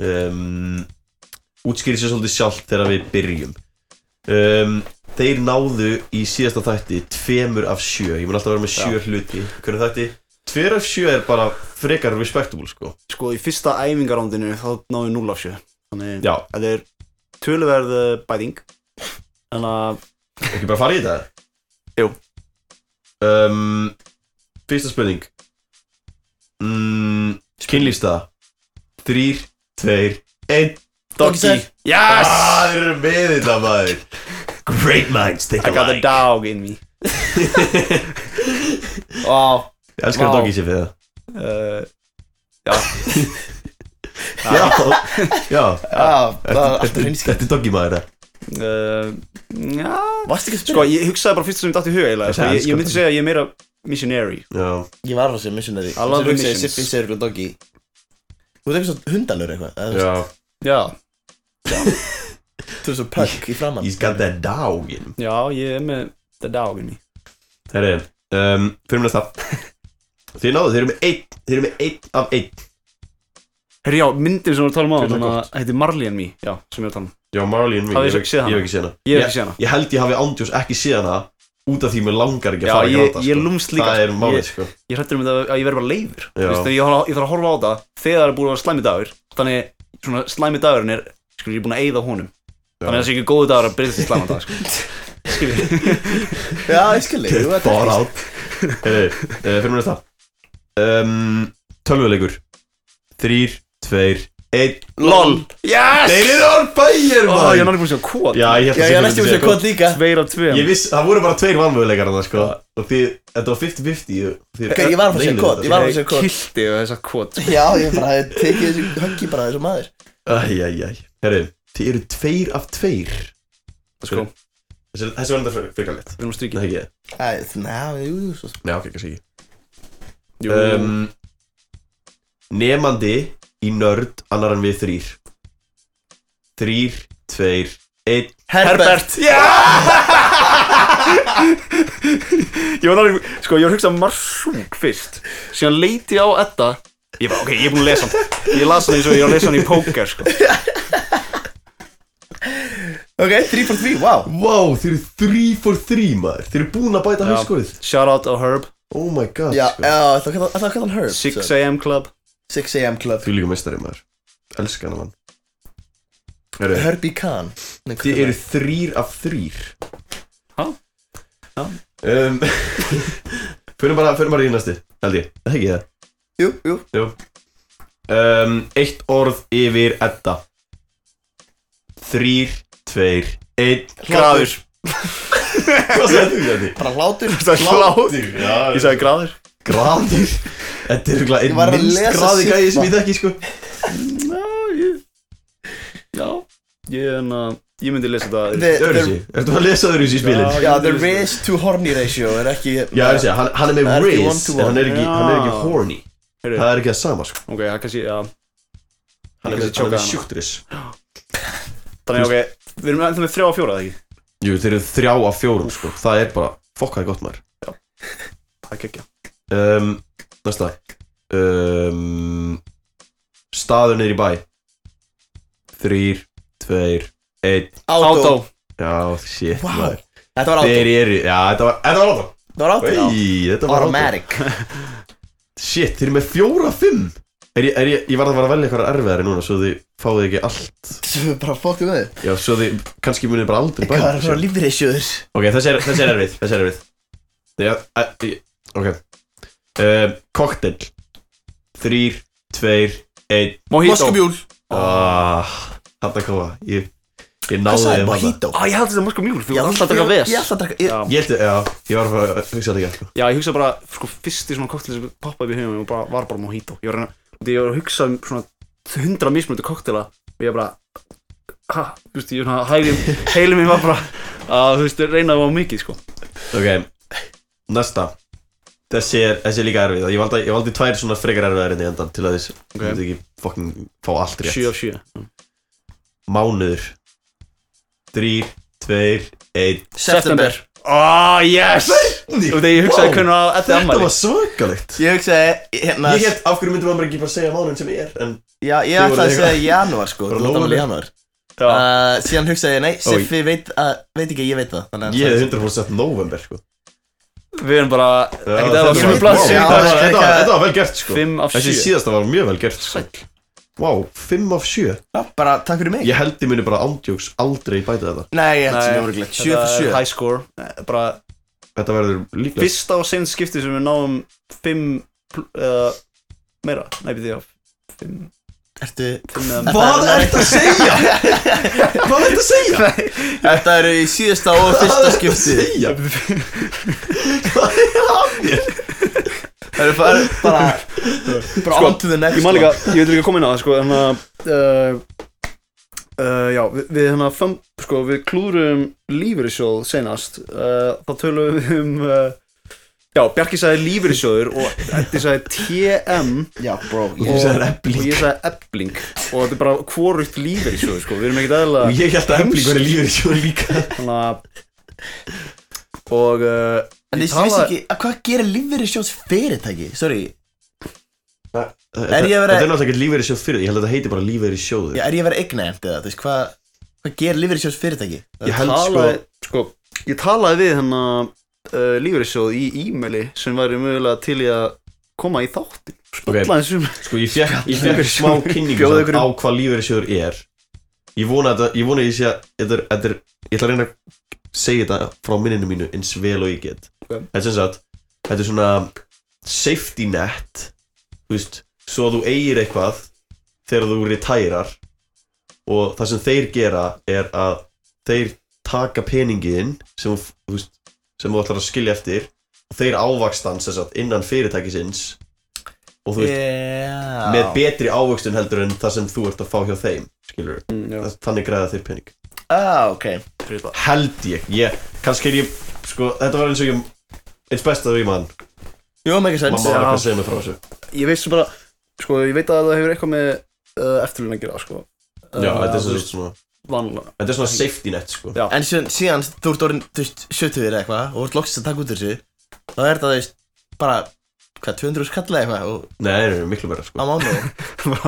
S3: um, Útskýri sér svolítið sjálft þegar við byrjum um, Þeir náðu í síðasta þætti Tveimur af sjö Ég mun alltaf vera með sjö hluti Hvernig þætti? Tveir af sjö er bara frekar respectable sko
S2: sko, í fyrsta æfingarándinu þá náðu 0 af 7 þannig,
S3: Já,
S2: þetta er töluverð uh, bæting þannig að
S3: ekki bara fara í þetta?
S2: Jú.
S3: um, Fyrsta spurning mm, Kynlýfstaða Þrýr, tveir, einn
S2: Doggy.
S3: Yes! Ah, þeir eru með þetta maður Great minds think
S2: I got the
S3: alike
S2: dog in <laughs> me Wow
S3: Ég elskar að
S2: Vá.
S3: doggy sé fyrir
S2: uh, Já
S3: það Já, já
S1: Ah,
S2: Já,
S3: Ertu-
S2: <laughs> það-
S3: ertu- Þetta er doggy maður það
S2: uh, Já
S1: Varstu ekki að
S2: Sko, ég hugsaði bara fyrst sem ég datt í huga eiginlega
S3: Þessi
S2: sko. ég,
S3: elskar
S2: ég myndi
S3: doggy.
S2: segja að ég er meira missionary
S3: Já
S1: Ég var á þessu missionary
S2: I love
S1: Þessu hugsaði
S2: missions.
S1: Siffi Sirk og Doggy Þú ert eitthvað svona hundalur eitthvað eða þú veist,
S2: Já
S1: Þú ert svo punk í framann
S3: He's got that dog in him
S2: Já, ég er með the dog in me
S3: Herri, um, fyrir mér að <laughs> Þið náðu, þeir eru með einn Þeir eru með einn af einn
S2: Herri, já, myndin sem við erum að tala um
S3: Þetta er
S2: á Þetta heitir Marley and me Já, sem ég er að tala um
S3: Já, Marley and me
S2: Hafið þið
S3: ég-
S2: ekki séð hana?
S3: Ég hef ekki séð
S2: Ég hef ekki séð
S3: hana
S2: hana.
S3: Ég, ég held ég hafi ándjós ekki séð hana Út af því mér langar ekki að
S2: Já,
S3: fara að
S2: ég,
S3: gráta
S2: ég
S3: sko.
S2: lúmst líka
S3: Það er
S2: sko.
S3: málið
S2: Ég-
S3: sko
S2: Ég hrættur um þetta að ég verði bara leiður
S3: Já.
S2: Vistu, ég, horf- ég þarf að horfa á það þegar það er búin að vera slæmi dagur Þannig svona slæmi dagurinn er Skilur, ég er búin að eyða honum Þannig að það sé ekki góðu dagur að byrja til slæma dag sko.
S1: Já, ég skilji
S3: Get far out Herri, uh, fyrir mér að um, Tölvuleikur Þrýr, tveir, einn LOL
S2: Yes!
S3: Þeir eru án bæjar
S2: Ó, ég er náttúrulega
S3: maður
S2: búin að sjá kvot
S3: Já, ég held
S1: Já,
S3: að
S1: ég
S3: sé
S1: er næstu að
S3: myndi
S1: segja
S2: sko.
S3: segja
S1: hvað líka
S2: Tveir af tveim
S3: sko. Ég viss, það voru bara tveir vanmöguleikar hann sko Og því, þetta var 50-50 þið-
S1: Ok, ég var að fara að segja
S3: Neilið
S1: kvot,
S3: þetta.
S1: ég var að fara að segja
S2: Ég
S1: kvot
S2: kilti við þessa sko. kvot
S1: Já, ég bara hef tekið þessu höggi bara þessu maður
S3: Æjæjæj Herri, þið eru tveir af tveir
S2: Sko,
S3: Þessi þessi var enda fyrir- fyrir létt
S2: við erum að
S3: Það
S2: strykja
S3: er ekki ég
S1: Æ, Næ, jú, jú, svo
S3: Já, ok, kannski ekki
S2: Jú,
S3: um, Nemandi í nörd annar en við þrýr Þrýr, tveir, einn
S1: Herbert
S2: Ég var alveg, sko, ég var að hugsa marsúk fyrst Síðan leiti ég á þetta Ég bara, ok, ég er búin að lesa hann Ég las hann eins og ég var að lesa hann í póker, sko
S1: Ok, 3 for 3, wow
S3: Vá, þið eru þrý for þrý maður Þið eru búin að bæta
S2: Já.
S3: hauskorið
S2: Shout out á Herb
S3: Oh my god
S1: Já,
S3: sko.
S1: já, þá kallar þá kallar hann Herb
S2: 6am Club
S1: 6am club
S3: Því líka meistari maður Elskar hann mann Herri,
S1: Herbie Kahn Nei,
S3: Þið
S1: hvað
S3: eru þrýr af þrýr
S2: Ha? Já.
S3: Um, <laughs> Fyrir bara, fyrir bara í næstu Held ég, Er það ekki það
S1: er- Jú, jú
S3: um, Eitt orð yfir edda Þrýr, tveir, einn
S2: Graður
S3: <laughs> Hvað sagði þú þetta?
S1: Bara hlátur
S3: Gláður
S2: Ég sagði graður
S3: Graður Þetta er örugglega
S1: Ég
S3: einn
S1: var að
S3: minnst
S1: lesa
S3: graði gæði sem
S1: Sibba.
S3: ég þekki sko
S2: Já Ég, en, uh, ég myndi lesa þetta
S1: The- the-
S3: Öðruvísi, ertu að lesa öðruvísi í spilin?
S2: Já,
S3: Já,
S2: ég-
S1: Já, the raise to horny ratio er ekki
S3: ég er að segja, hann, hann er
S1: Það
S3: með
S1: er ekki
S3: raise
S1: one to
S3: En hann er
S2: one.
S3: ekki, hann er
S2: Já.
S3: ekki horny
S2: Heyrðu.
S3: Það er ekki það sama sko
S2: Ok, það kannski, já
S3: Hann
S2: Ég
S3: er
S2: kannski
S3: með, hann er
S2: tjókaði
S3: með
S2: hana.
S3: sjúkt raise
S2: Þannig, ok, við erum ennþá með þrjá að fjóra, eða ekki?
S3: Jú, þeir eru þrjá af fjórum sko Það er bara fokkaði gott maður
S2: Það er gekkja
S3: um, Næsta um, Staður niður í bæ Þrýr, tveir, einn
S1: Auto
S3: Já, shit
S1: Vá.
S3: maður
S1: Þetta var auto
S3: Þeir eru, já, þetta var, þetta var átta
S1: Þetta var auto
S3: Í, þetta var átta
S1: Automatic
S3: Shit, þeir eru með fjóra, fimm Er ég, er ég, ég var að vera að velja eitthvað erfiðari núna Svo þið fáið ekki allt
S1: Svo við bara fokkum við þig
S3: Já, svo þið, kannski munið bara aldrei
S1: Hvað er
S3: bæta
S1: það lífreisjóður?
S3: Ok, þessi er, þessi er erfið, þessi er erfið Já, e, ok um, Cocktail Þrýr, tveir, einn
S2: Mojito
S4: Moskubjúl
S3: ah, Þetta koma, ég, ég náði
S1: Hvað sagði
S3: þeim þarna.
S1: mojito?
S2: Á, ég held þetta mosku mjúl, þú
S1: Já,
S2: var alltaf að taka ves
S1: Ég ætla að draka ég-
S2: Já.
S3: Ég held, já, ég var að fara að hugsa þetta ekki sko.
S2: Já, ég hugsa bara, sko, fyrst í svona koktel sem poppaði upp í hugum og bara, var bara mojito Ég var að, reyna- ég var að hugsa um svona hundra mismunandi koktela og ég bara Ha, þú veist, ég svona, hægum, heilum minn var bara að, þú veist, reynaði var mikið, sko
S3: Ok, næsta Þessi er, þessi er líka erfið Ég valdi, ég valdi tvær svona frekar erfiðar enn í endan Til að þess,
S2: Ok.
S3: okay. ekki fucking fá allt rétt
S2: 7 af 7
S3: Mánuður Þrýr, tveir, einn
S1: September
S2: Ah, yes! Og þegar ég hugsaði hvernig að þetta er
S3: Þetta
S2: ammali
S3: var svakalegt
S1: Ég hugsaði hérna
S3: Ég held, af hverju myndum maður ekki bara segja mánuðin sem ég er En
S1: Já, ég
S3: Þið voruð
S1: ætlaði að
S3: eitthvað-
S1: segja janúar sko
S3: Bara
S1: Þú ætlaði alveg
S3: lóðalegt.
S1: janúar
S2: Já.
S1: Uh, Síðan hugsaði ég, nei, Siffi veit, að, veit ekki, að ég veit það Þannig að
S3: Ég hef 100% november sko
S2: Við erum bara, ekkert eða
S3: þetta
S2: á sömu
S1: var-
S2: plassi í dag.
S3: Þetta
S1: Já,
S3: var-
S1: þetta
S3: þetta var-
S1: var-
S3: þetta var vel gert sko
S2: Fimm af
S3: Þessi
S2: sjö.
S3: síðasta var mjög vel gert sko
S2: Sæll.
S3: Vá, 5 af 7
S1: það bara takk fyrir mig
S3: Ég held ég muni bara ándjóks aldrei bæta þetta
S1: Nei, ég held sem
S2: Nei,
S1: ég voru glætt 7
S2: þetta er
S1: fyrir 7
S2: High score Eh, Bara
S3: Þetta verður líklega
S2: fyrsta og senst skipti sem við náum 5 eða meira Nei, býtti ég á 5
S1: ertu
S3: Hvað ertu að
S1: <laughs>
S3: segja? Hvað ertu að segja?
S1: Þetta eru í síðasta og fyrsta skipti <laughs>
S2: Það er bara, bara,
S1: bara
S3: Sko,
S1: on to the next
S2: ég man líka,
S1: one.
S2: ég vil líka koma inn á það sko, en að uh, uh, já, við, við hérna fem, sko, við klúðurum lífyrirsjóð senast uh, þá tölum við um uh, já, Bjarki sagði lífyrirsjóður og Eddi sagði TM
S1: já, bro,
S2: og,
S3: þú sagðir Efling.
S2: og ég sagði ebling og þetta er bara hvorugt lífyrirsjóður sko, við erum ekkert eðla
S3: Og ég held að Efling væri lífeyrissjóður líka
S2: þannig að og uh,
S1: En þið vissi ekki, að hvað gerir lífverðisjóns fyrirtæki? Sorry,
S3: Er
S1: ég að vera-
S3: Þetta er náttúrulega ekki lífeyrissjóð fyrir Ég held að þetta heiti bara lífeyrissjóður
S1: já, er ég að vera eignæmt eða, þú veist, hvað hva gerir lífverðisjóns fyrirtæki?
S2: Ég held talaði, sko, Ég talaði við hennar uh, lífeyrissjóð í e-maili sem væri mögulega til í að koma í þátti
S3: Ok,
S2: Alla þessum
S3: Sko ég fekk, ég fekk smá
S2: Lífeyrissjóður.
S3: kynningu
S2: Bjóða
S3: samt
S2: ykkur
S3: á
S2: um-
S3: hvað lífeyrissjóður er Ég vona að ég, vona að ég sé að þetta er, þetta er, ég ætla að reyna að segja þetta frá minninu mínu eins vel og ég get
S2: Ok.
S3: Þetta er sem sagt, þetta er svona safety net þú veist, svo að þú eigir eitthvað þegar þú retirar og það sem þeir gera er að þeir taka peningin sem þú, þú veist, sem þú ætlar að skilja eftir og þeir ávakstan sem sagt innan fyrirtækisins og þú veist,
S1: Já.
S3: með betri ávöxtun heldur en það sem þú ert að fá hjá þeim skilur,
S2: mm,
S3: þannig græða þeir pening
S1: Ah, ok
S3: held ég, ég, kannski er ég sko, þetta var eins og ég eins best að við mann,
S1: Jú, make sense
S3: mamma var ekki að segja mig frá þessu
S2: Ég veist bara, sko, ég veit að það hefur eitthvað með uh, eftirlun að gera, sko
S3: já,
S2: Uh,
S3: þetta er
S2: þú
S3: svona,
S2: veist,
S3: svona
S2: <laughs> Vanlega
S3: þetta er svona safety net sko
S2: Já.
S1: En síðan, síðan þú ert orðin, þú veist, 70 eða eitthvað og ert loksist að taka út úr þessu þá er þetta, þú veist, bara, hvað, 200 skalla eitthvað og
S3: nei, nei, nei, miklu meira
S1: á
S3: sko
S1: mánuði
S3: <laughs>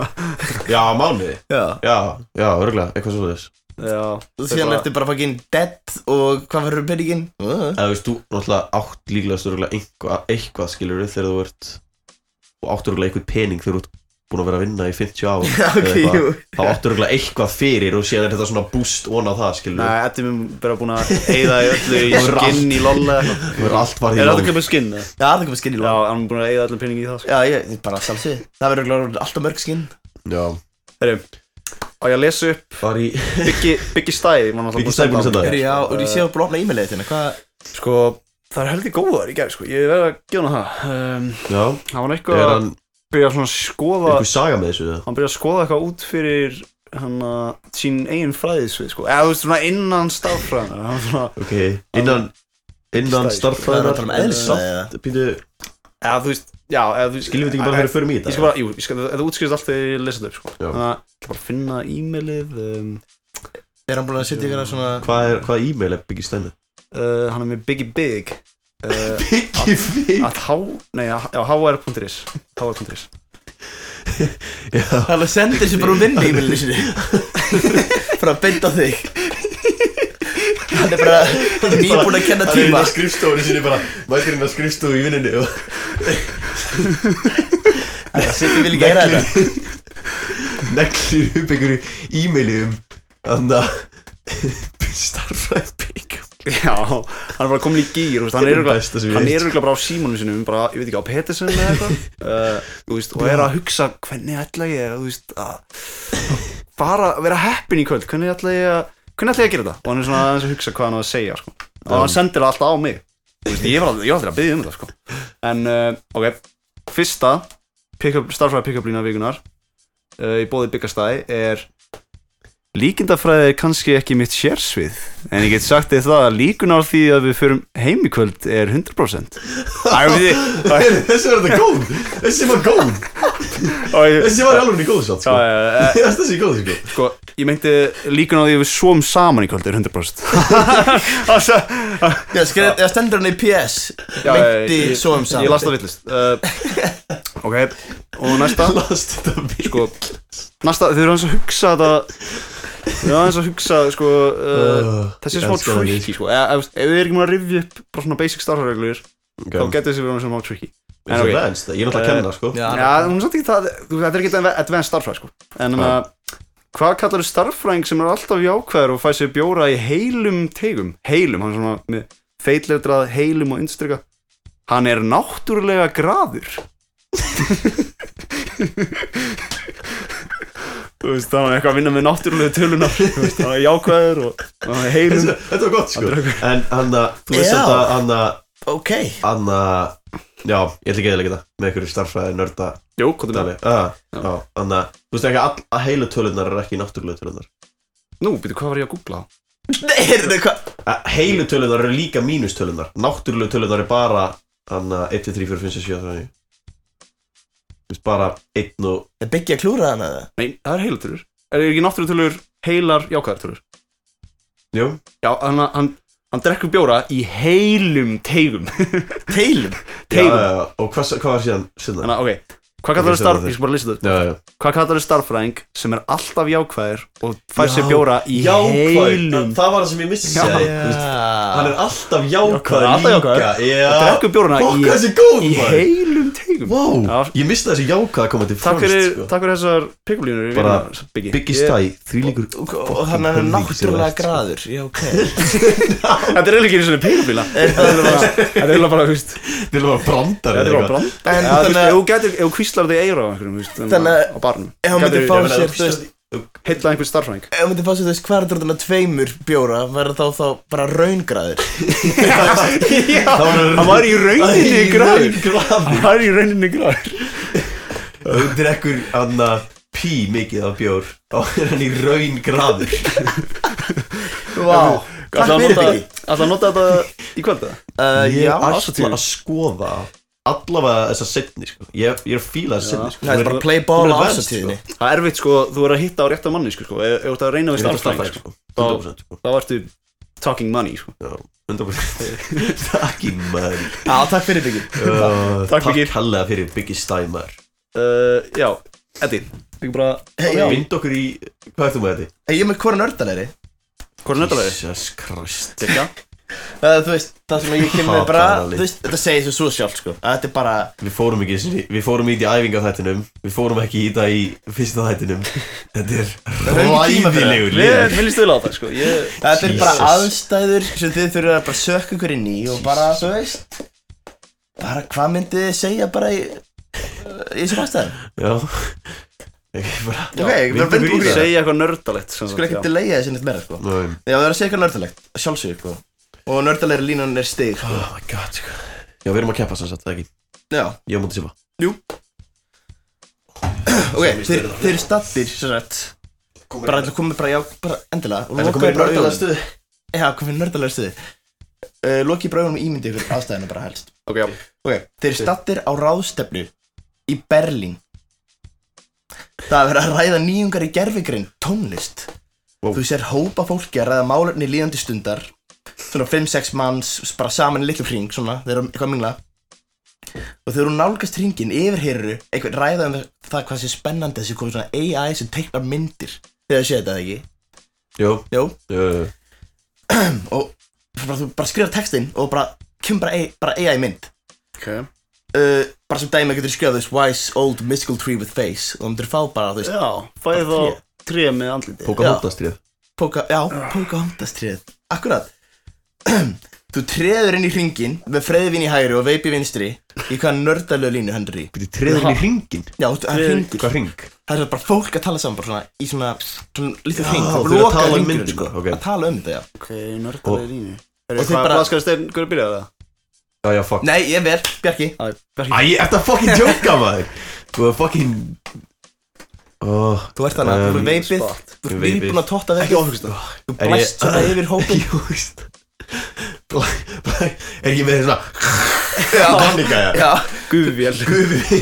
S3: já, mánuði,
S1: Já
S3: já, já, örgulega, eitthvað svo þess
S2: Já,
S1: Og síðan ertu bara fucking dead og hvað verður peningin? Uh.
S3: eða þú veist, þú náttúrulega átt líklegast örgulega eitthvað, eitthvað skilur þegar þú ert og átt örgulega eitthvað pening þegar þú ert búin að vera að vinna í 50 ár
S1: Já, ok, jú.
S3: þá átt örgulega eitthvað fyrir og síðan er þetta svona boost on á það skilur
S2: Nei, þetta er mér bara búin að eyða í öllu í skinn í lolla Er
S3: Þú verður allt varð í
S2: þetta
S3: lóð
S2: ekki með skinn? eða?
S1: Já, það komið skinn í
S2: Já,
S1: lóð
S2: hann er búin að eyða allan peningi í það, sko
S1: Já, ég, bara sjálfsvið Það verður örugglega alltaf mörg skinn
S3: Já
S2: Herru, á ég að lesa upp
S3: Var <laughs> í
S2: Byggi, byggi stæði, mann alltaf
S3: Biggi Stæði búinn að senda
S1: Herri,
S3: þér
S1: Já, og ég sé að blófna e-mailið þínu, hvað
S2: Sko, það er heldur góðar í gæð, sko Ég verð að gefa hana það um,
S3: Já
S2: Hann var
S3: Er
S2: eitthvað að
S3: hann
S2: byrja svona að skoða
S3: eitthvað saga með þessu eða?
S2: Hann byrja að skoða eitthvað út fyrir hann að sín eigin fræðisvið, sko Eða þú veist, svona innan stafræðina Hann var svona,
S3: Ok Innan
S2: Stæði.
S3: Innan
S1: Það er að
S3: starffræðar
S1: tala um eðlisfræði eða?
S3: Pínu
S2: eða þú veist, já, eða þú veist
S3: Skiljum við þetta ekki bara fyrir að förum í
S2: Ég
S3: þetta
S2: skal bara, jú, ég skal, þetta útskýrst allt þegar ég lesa þetta upp, sko
S3: Já.
S2: Þannig að ég skal bara finna e-mailið um,
S1: Er hann búin að setja ykkur að svona
S3: Hvað er Hvað e-mail er Biggi Stæði
S2: uh, Hann er með Biggie Big uh,
S3: <laughs> Biggi Big
S2: At h, nei, já, hr.is hr.is
S1: Það er alveg að senda þessu bara úr vinnu e-mailinu sinni Bara að beinta þig Hann er bara nýbúin að kenna
S3: Hann er inn
S1: tíma
S3: á <laughs> skrifstofunni sinni bara Mætir inn á skrifstofu í vinninni og
S1: Það setjum við líka að gera þetta
S3: neglir upp einhverju e-maili um Þannig að Starffræð Biggi
S2: Já, hann er bara komin í gýr veist, hann,
S3: Þetta
S2: er
S3: er
S2: örugglega-
S3: besta sem ég
S2: hann
S3: veit.
S2: er örugglega bara á símanum sinum bara, ég veit ekki á Petersen eða eitthvað
S3: <laughs>
S2: uh, þú veist, og er að hugsa hvernig ætla ég þú veist, að bara vera heppin í kvöld hvernig ætla ég að hvernig ætla ég að gera þetta og hann er svona aðeins að hugsa hvað hann á að segja sko. og hann sendir það alltaf á mig Þú veist, ég var aldrei, ég var aldrei að byggja um þetta sko. en uh, ok, fyrsta starfræði pick-up lína vikunar uh, í bóði byggastæði er Líkindafræði er kannski ekki mitt sérsvið en ég get sagt þér það að líkun á því að við förum heim í kvöld er 100% Æ, og við- Æ,
S3: Þessi var þetta góð Þessi var góð
S2: og ég-
S3: Þessi var alveg góð
S2: Já,
S3: satt sko
S2: já, já,
S3: Ég varst <laughs> þessi góð sko
S2: Sko, ég meinti líkun á því að við svom saman í kvöld er 100% Þessa-
S1: Já, skrifa- eða stendur hann í PS
S2: Já,
S1: Meinti
S2: ég-
S1: svo um saman
S2: Ég las það villist uh, Ok, og næsta
S3: Last þetta við
S2: Sko, næsta, þau eru hans að hugsa þetta Þau eru hans að hugsa, sko uh, Þessi er smá tricky, sko Eða, Ef ef þið er ekki múin að rifja upp bara svona basic starfreglur þá getur þessi verið svona smá tricky
S3: Ég er advanced, ég er náttúrulega að kenna sko
S1: Já,
S2: Já, hún er samt ekki það, þú- þetta er ekki adva- advanced starfræði sko En um,
S3: Já.
S2: hvað kallar þú starfræðing sem er alltaf jákvæður og fær sér bjóra í heilum tegum Heilum, hann er svona með feitletrað heilum og undirstrykka Hann er náttúrulega graður <laughs> Þú veist, þannig eitthvað að vinna með náttúrulega tölunar Þú veist, þannig jákvæður og þannig heilum
S3: Þetta- <laughs> þetta var gott, sko. En hann að, þú veist
S2: Já.
S3: samt að hann að
S1: Ok
S3: Hann að, já, ég ætla ekki eða ekki það Með einhverju starffræði nörda
S2: Jú, hvað
S3: er það? Já, hann að, þú veist ekki að all- að heilu tölunar er ekki náttúrulega tölunar
S2: Nú, byrju, hvað var ég að googla?
S1: Nei, heyrðu, hvað
S3: Að Heilu tölunar eru líka mínutölunar Náttúrulega tölunar er bara Hann eh, að 1, 2, 3, 4, 5, 6, 7, 8, 9 Þú veist, bara 1 og
S1: Er byggja að klúra hana það?
S2: Nei, það er heilatölur Er ekki náttúrulega tölur heilar jákvæðar tölur?
S3: Jú
S2: Já, hann, hann, hann drekkur bjóra í heilum teigum
S1: Teilum?
S2: <laughs> Teigum
S3: Já, já, já, og hvað, hvað var síðan sinna?
S2: Þannig að, ok, hvað kallar
S3: Ég
S2: þau
S3: sé
S2: starf...
S3: það.
S2: Ég skal bara lýsa þetta
S3: Já, já,
S2: Hvað kallar þau starffræðing sem er alltaf jákvæður og fær
S3: Já.
S2: sér bjóra í
S3: Jákvæður.
S2: heilum
S3: Það var það sem ég missi
S2: Já.
S3: segja. Þú veist, Hann er alltaf jákvæður
S2: Alltaf
S3: líka
S2: jákvæður. Og drekkur bjórana
S3: Fokk,
S2: í-
S3: hvað þessi góð
S2: í
S3: maður.
S2: heilum teigum
S3: Vá, ég misti þessi jákvæða að koma til
S2: Takk
S3: fransk
S2: fyrir,
S3: sko.
S2: takk fyrir þessar pikulínur
S3: Bara
S2: Biggi
S3: Biggi
S2: Ég-
S3: Stæ, því líkur
S1: Og hann er náttúrulega
S3: sko.
S1: graður Já, ok
S2: Þetta er eiginlega ekki eins og
S3: <laughs>
S2: pílbíla Þetta er bara- þetta er eiginlega bara, þú veist
S3: Þetta er <laughs> bara brandar
S2: Þetta er bara brand Já,
S1: En
S2: þú veist,
S1: þannig að-
S2: ef þú gætir, ef þú kvíslar þig eira á einhverjum, þú veist
S1: Þannig að-
S2: Þannig Á barnum
S1: ef hann myndi
S2: Gætirðu-
S1: fá
S2: Já,
S1: sér,
S2: þú
S1: þú
S2: veist, Heilla einhver starfræðing
S1: Ef maður fannst þú veist hvað er þetta tveimur bjóra Verður þá þá bara
S3: <laughs>
S1: raungraður <laughs>
S2: Já, hann var í rauninni gráður Hann var í rauninni gráður
S3: Þú drekkur hann pí mikið af bjór Þá er hann í raun graður
S1: Vá Takk fyrir Biggi
S2: Alltaf að nota þetta í kvölda
S1: Uh,
S3: Ég
S1: Já,
S3: ætla að skoða allavega þessa setni sko. ég, ég er að fíla þessa setni sko.
S1: Það er bara play ball á ásatíðinni
S2: Það er erfitt, sko, þú er að hitta á rétta manni, sko, sko Ef ef þú ert að reyna við starfræðing, sko Þá-
S3: 100% sko.
S2: Þá ertu talking money, sko
S3: Já, 100% Takk í maður
S1: Já, takk fyrir Biggi
S3: Uh,
S2: Takk, Biggi.
S3: Takk hallega fyrir Biggi Stæmar
S2: Uh, Já, Eddi Ekki bara
S1: Hey, já.
S3: Vind okkur í, hvað ertu með þetta?
S1: Ég er með hvora nördalæri
S2: Hvað er nöttalegið?
S3: Jesus Christ
S2: Kekja
S1: Það er Uh, þú veist, það sem ég kem með bara
S3: Fatalega.
S1: Þú veist, þetta segir svo svo sjálf sko að Þetta er bara
S3: Við fórum ekki, sinni, við fórum í þetta í æfingaþættinum Við fórum ekki í þetta í fyrsta þættinum Þetta er
S1: Röng tíma fyrir það.
S3: ræðilegur
S2: Mér
S3: liður
S2: mér líst vel á það, sko Ég
S1: Þetta er
S3: Jesus.
S1: bara aðstæður sem þið þurfum að bara sökka ykkur inn í og bara, þú veist bara hvað myndið þið segja bara í uh, í þessum aðstæðum
S3: Já Ekki bara
S1: Ok, ég bara
S3: Vindum
S1: vindum okkur í
S3: það.
S2: segja eitthvað nördalegt sem
S1: Skulle
S2: sagt, já.
S1: ekki delaya þessi neitt meira sko Já,
S3: Nei.
S1: það er að segja eitthvað nördalegt, að sjálfsögðu sko og nördalegri línan er stig sko.
S3: Oh my god sko. Já, við erum að keppa sem sagt, það ekki
S1: Já,
S3: Ég á mútið síma
S1: ok, þeir, þeir eru stattir sem sagt bara ætla að koma bara, já, bara endilega og
S3: Ætla að
S1: lokaðu
S3: koma í
S1: bara
S3: nördalega
S1: augunum.
S3: stuði.
S1: Já, komið nördalega stuði uh, Lokið bara augunum og ímyndið ykkur aðstæðina bara helst
S2: Ok, já
S1: Ok, þeir eru stattir á ráðstefnu í Berlín Það er verið að ræða nýjungar í gerfigrein, tónlist
S3: Vó.
S1: Þú sér hópa fólki að ræða málefni líðandi stundar Svona 5-6 manns, bara saman í litlu hring, svona, þeir eru eitthvað að mingla Og þegar hún nálgast hringin yfirheyru eitthvað ræða um það hvað sé spennandi þessi komið svona AI sem teiknar myndir Þegar þið séu þetta eða ekki
S3: Jó
S1: Jó,
S3: Jú, jú, jú.
S1: og bara, þú bara skrifar textinn og bara kemur bara, AI bara AI mynd
S2: Ok
S1: uh, bara sem dæmi getur skrifað þess wise old mystical tree with face og þú myndir fá bara þú veist
S2: Já, fæði
S1: Bara tré.
S2: þá tré með andliti
S3: Póka hóttastrið
S1: póka, já, póka hóndastrið akkurat <clears throat> þú treður inn í hringin með freyðvin í hægri og veipi vinstri í hvaða nördalögu línu hann er í
S3: Byrju, treðin í hringin
S1: já, það er hringir
S3: Hvað hring?
S1: það er bara fólk að tala saman bara svona í svona, svona lítið
S3: Já,
S1: hring
S3: þau
S1: það
S3: eru að
S1: er bara lokað
S3: tala um
S1: hringurinn,
S3: myndina,
S1: sko,
S3: ok.
S1: að tala um þetta, já
S2: Ok, nördalegi línu
S1: Og
S2: Og
S1: þið
S2: þið
S1: bara-
S2: bara Hvað skal Steinn, hverju byrjaði það?
S3: Já, já, fuck
S1: nei, ég er vel, Bjarki
S2: Æ,
S3: Æ, þetta er fucking tjóka maður Þú er fucking oh,
S1: þú ert þannig þú er veipið þú er
S3: Ég veipið.
S1: nýbúin að totta veipið þú
S3: Er ég-
S1: blæst svona
S3: <laughs>
S1: yfir hópin
S3: Ég veist Er ég með svona Panika, já
S1: já,
S2: Guðvél
S3: Gufi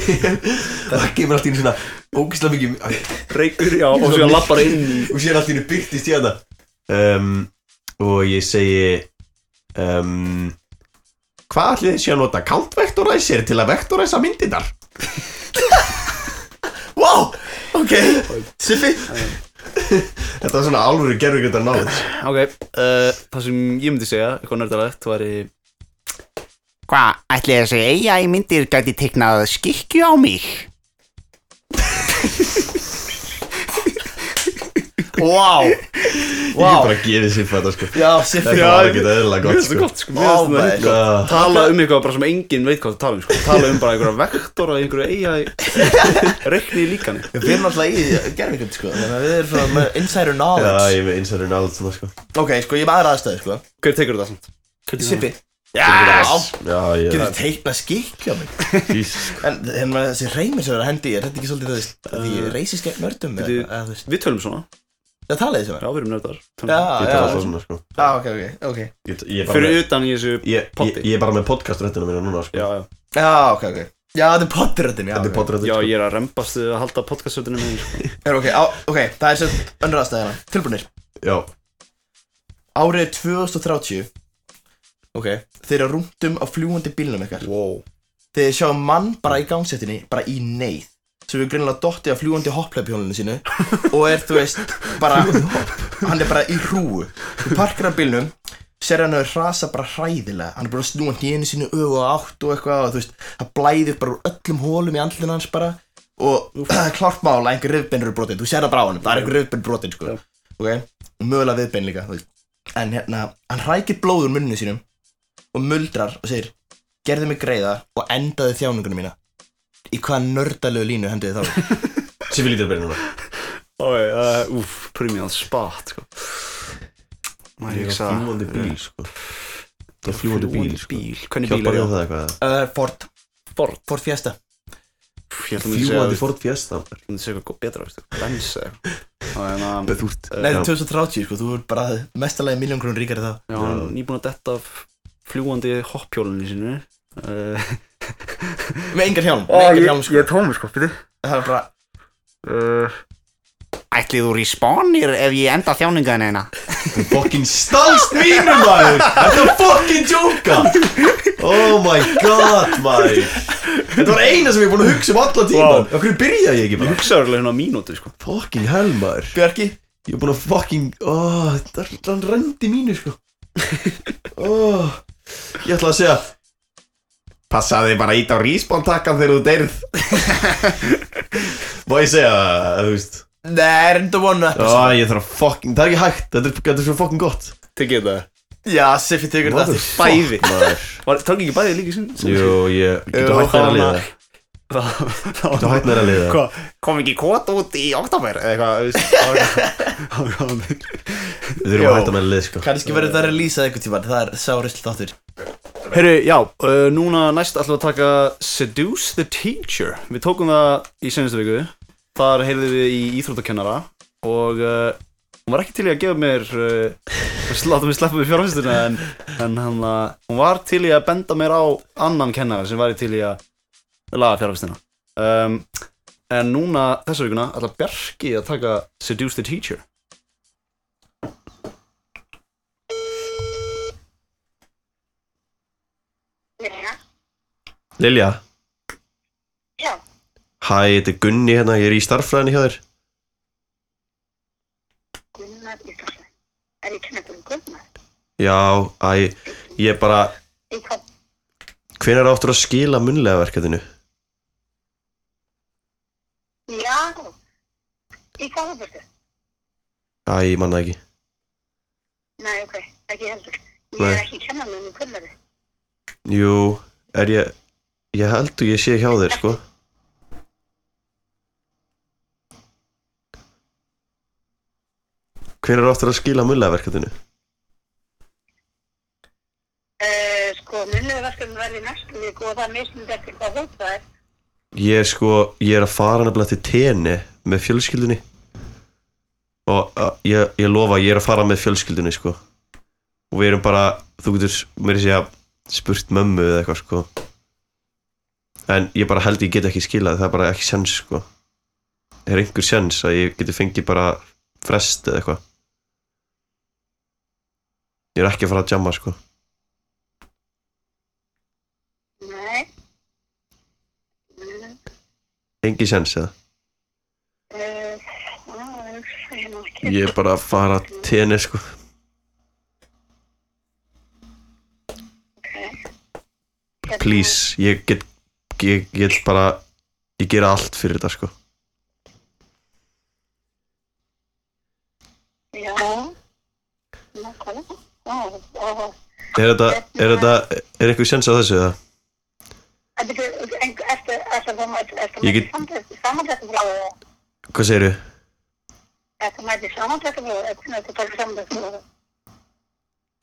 S3: Það kemur allt í einu svona Ógislega mikið æ,
S2: Reykur, já, og síðan lappar inn í
S3: Og sér allt í einu byrtist í þetta um, Og ég segi um, Hvað ætlið þið sé að nota Countvektoræsir til að vektoræsa
S1: <laughs>
S3: myndirnar?
S1: wow, ok Siffi,
S3: Þetta var svona alvöru gerfingrindar náður
S2: Ok, uh, það sem ég myndi segja, eitthvað nördalegt, væri
S12: Hvað, ætli þessi AI myndir gæti teiknað skikju á mig?
S1: Vá
S3: Ég hef bara gefið Siffa þetta sko
S1: Já, Siffa.
S3: Þetta var ekkert eðlilega
S2: Mér
S3: gott
S2: finnst
S3: sko
S2: það gott sko Mér finnst það heitt gott Tala um eitthvað bara sem enginn veit hvað það tala um sko Tala um bara einhverja vektora í einhverju eiga Rekni í líkani
S1: Við erum alltaf í gerfingrið sko Þannig að við erum svona með insider
S3: Já,
S1: knowledge
S3: ég er með insider knowledge þarna sko
S1: Ok, sko ég er með aðra aðstæði sko
S2: Hver tekur þetta samt?
S1: Sippi
S3: Yes! Já, ég
S1: Getur teikna skikki á mig
S3: <laughs>
S1: En hérna, þessi reymir sem er að hendi ég Er þetta ekki svolítið þess Því
S3: Uh,
S1: ég reysist gegn nördum eða
S2: Bíddu,
S1: eitthvað, eða þú veist.
S2: Við tölum svona
S1: Það talaði þið sem er
S2: Já, við erum nördar
S1: Já,
S3: Ég
S1: já.
S3: tala alltaf svona sko
S1: Já, ok, ok, ok
S3: Ég, ég er bara
S2: Fyrir
S3: með-
S2: utan í þessu
S3: Ég, ég,
S2: potti
S3: ég er bara með podcaströndina mína núna sko
S2: Já, já
S1: Já, ok, ok Já, þetta er potteröttin, já
S3: Þetta er
S1: ok.
S3: podröndin
S2: Já,
S3: sko
S2: ég er að rembast að halda podcastöldinu með sko.
S1: Er, ok, á, ok, það er sem önnur aðstæðina Tilbúinir
S3: Já
S1: Árið er 2030 Ok Þeir eru rúndum á fljúandi bílnum ykkar
S2: Wow
S1: Þeir sjá mann bara í gangsettinni Bara í neyð Sem við greinilega dottið á fljúandi hoppleipjóninu sínu Og er, þú veist, bara Hann er bara í hrúu Þú parkir af bílnum Sér hann hefur hrasa bara hræðilega Hann er bara að snúa hnýðinu sínu öfu og átt og eitthvað Og þú veist, það blæðir bara úr öllum hólum í andlun hans bara Og <clears throat> það er klart mál að einhver röfbein eru brotin Þú sér það bara á hann, það er einhver röfbein brotin sko. Ok, og mögulega viðbein líka þú veist. En hérna, hann hrækir blóð úr munninu sínum Og muldrar og segir Gerðu mig greiða og endaði þjáninguna mína Í hvaða nördalegu línu
S3: <laughs>
S1: hendiði þá?
S3: Siffi lítur byrja núna
S2: Ói, uh, úf, premium spot sko. Maður
S3: Ég er
S2: hugsa
S3: á fljúandi bíl sko Ég er fljúandi bíl sko
S2: bíl, hvernig bíl
S3: Hjálpar
S2: er
S3: þér
S2: ég á?
S3: það eitthvað
S1: uh, Ford
S2: Ford
S1: Ford Fiesta
S2: Úff, Ég held að myndi segja
S3: Fljúandi
S2: Ég
S3: Ford Fiesta
S2: held að myndi segja eitthvað betra veistu, Benz eða eitthvað
S3: Þú ert
S1: Nei,
S3: Uh, Já.
S1: 2030 sko, þú er bara mestalagi miljón grunn ríkari þá
S2: Já, hann er nýbúin að detta af fljúandi hoppjólunni sinu uh,
S1: Með engan hjálm, með engan hjálm sko
S2: er tómur sko, byrju
S1: Það er bara,
S2: uh,
S12: Ætlið þú respawnir ef ég enda hérna? þjáningaðin eina?
S3: Þú fucking stálst mínu maður Þetta er fucking jóka Oh my god maður Þetta var eina sem ég er búin að hugsa um allan
S2: Vá.
S3: tíman Af hverju byrja ég ekki
S2: Ég
S3: bara
S2: hugsa alveg hérna á mínútu sko
S3: Fucking hell maður
S1: Björki
S3: Ég er búin að fucking oh, þetta- Hann rendi mínu sko oh, Ég ætla að segja Passaði bara ít á respawn takkan þegar þú deyrð Má ég segja það, þú veist
S1: Nei, reynda vonu
S3: Já,
S1: episode
S3: ég þarf að fucking, það er ekki hægt, þetta er, þetta er svo fucking gott
S2: Tekið þetta
S1: Já, Siffi tekur þetta aftur
S2: Bæði
S3: maður
S2: Var, Tók ekki bæði líka sinn
S3: Jú, ég getur
S2: Jú,
S3: hægt mér að
S2: hana-
S3: liða
S2: Það
S3: Getur hægt mér að liða
S2: Hva? Kom ekki kót út í oktober eða eitthvað
S3: <laughs>
S12: <laughs>
S2: Það var gaman
S3: Við þurfum að hætta mér að liða sko
S1: Kannski verður það að lýsa einhvern tímann, það er sárusl þáttur
S2: Herru, já, uh, núna næst ætlum við að taka Seduce the Teacher Við tókum það í senjastu viku Þar heyrðum við í íþróttakennara Og uh, hún var ekki til í að gefa mér uh, <laughs> Látum við sleppa við fjárfæstuna En, en hann, uh, hún var til í að benda mér á annan kennara Sem væri til í að laga fjárfæstuna um, En núna, þessa vikuna, ætla Bjarki að taka Seduce the Teacher
S3: Lilja
S13: Já.
S3: Hæ, þetta er Gunni hérna, ég er í starffræðinni hjá þér
S13: Gunnar í starfræði. Er ég kennið um Gunnar?
S3: Já, æ, ég er bara
S13: Í hvað?
S3: Hvenær áttur að skila munlega verkefninu?
S13: Já. Í hvað það byrtu?
S3: Æ, ég manna ekki
S13: Nei, ok, ekki heldur. Ég er
S3: Nei.
S13: ekki kennið um Gunnari.
S3: Jú, er ég Ég held og ég sé hjá þér sko Hvenær áttur að skila munlega verkefninu?
S13: Uh, sko, munniðu verkefni verði í næstu viku og það misnum eftir hvað hótt það er.
S3: Ég er sko, ég er að fara nefnilega til tenni með fjölskyldunni og a, ég, ég lofa, ég er að fara með fjölskyldunni sko og við erum bara, þú getur mér að segja spurt mömmu eða eitthvað sko en ég bara held ég get ekki skilað, það er bara ekki sens sko er einhver sens að ég geti fengið bara frest eða eitthvað ég er ekki að fara að jamma sko
S13: Nei. Mm,
S3: engi sens eða
S13: Uh, á, ég er nú ekki.
S3: Ég er bara að fara til tenni sko Please, ég get ég get bara ég gera allt fyrir þetta sko
S13: Já, nákvæmlega. Já, og-
S3: Er þetta, er þetta, er eitthvað sjans á þessu eða?
S13: En byrju, en ertu ertu að koma- ertu að
S3: Ég
S13: mæta
S3: get-
S13: í samandrættum frá eða?
S3: Hvað segirðu?
S13: Ertu að mæta í samandrættum frá eða? Hvernig ertu að taka samandrættum frá eða?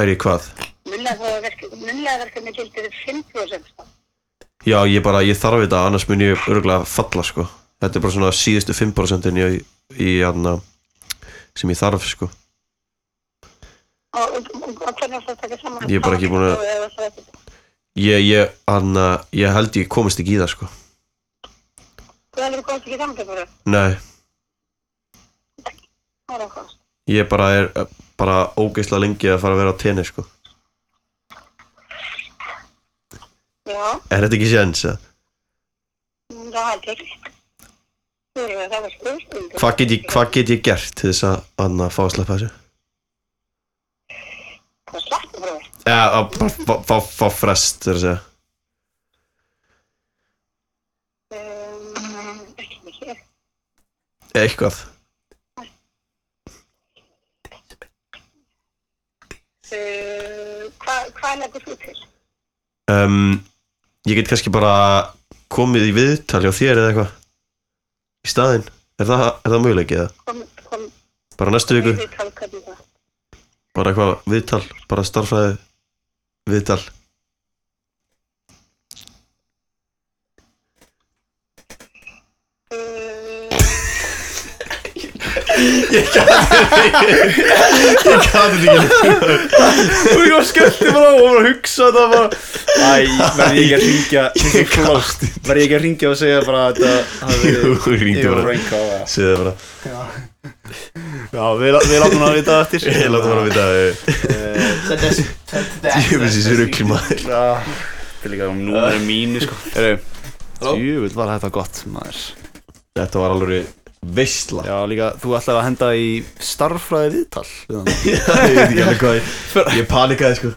S3: Er ég hvað?
S13: Munlega verkefni gildir 5% sko.
S3: Já, ég bara, ég þarf þetta, annars mun ég örgulega falla, sko. Þetta er bara svona síðustu 5% í, í, hérna, sem ég þarf, sko.
S13: Og, og, og, og hvernig ertu að taka samandrættum
S3: Ég er bara ekki búin að- Ég, ég, hann, ég held ég komist ekki í það, sko.
S13: Hvað er það komst ekki samandrættum frá eða?
S3: Nei,
S13: Það er okkar.
S3: ég bara er eh, bara ógeisla lengi að fara að vera á tenni, sko.
S13: Já,
S3: Er þetta ekki sjans, eða?
S13: mm, það held ég ekki. Þú erum að það var spurning.
S3: Hvað get ég, hvað get ég gert til þess að, hann, fá að sleppa þessu?
S13: Það slappur frá eða?
S3: Já, að bara fá, fá, fá frest, þess að segja.
S13: Um, ekki mikið.
S3: Eitthvað.
S13: Uh, hvað hva leggur þú til?
S3: um, ég get kannski bara komið í viðtal hjá þér eða eitthvað í staðinn er það, er það möguleik eða?
S13: Kom, kom,
S3: bara næstu viku,
S13: við tala hvernig það.
S3: bara eitthvað viðtal bara starfræði viðtal
S11: Ég gæti
S3: <laughs>
S2: Ég gæti þetta ekki Og ég var skellti bara og var að hugsa þetta bara Æ, verði ég ekki að ringja Ég klóst Verði ég ekki að ringja og segja bara að þetta hafi
S3: Jú, hringdu bara.
S2: rank á það
S3: segðu það bara
S2: Já, við, við látum hann að vita það eftir
S3: Við látum hann að vita
S1: Send us- send us-
S3: Ég finnst þessi rugli maður
S2: Þetta er líka um númeri mínu sko Jöfull var þetta gott maður
S3: Þetta var alveg veistla
S2: Já, líka, þú ætlaði að henda í starffræði viðtal Já,
S3: <laughs> ég veit ekki alveg hvað ég- ég panikaði sko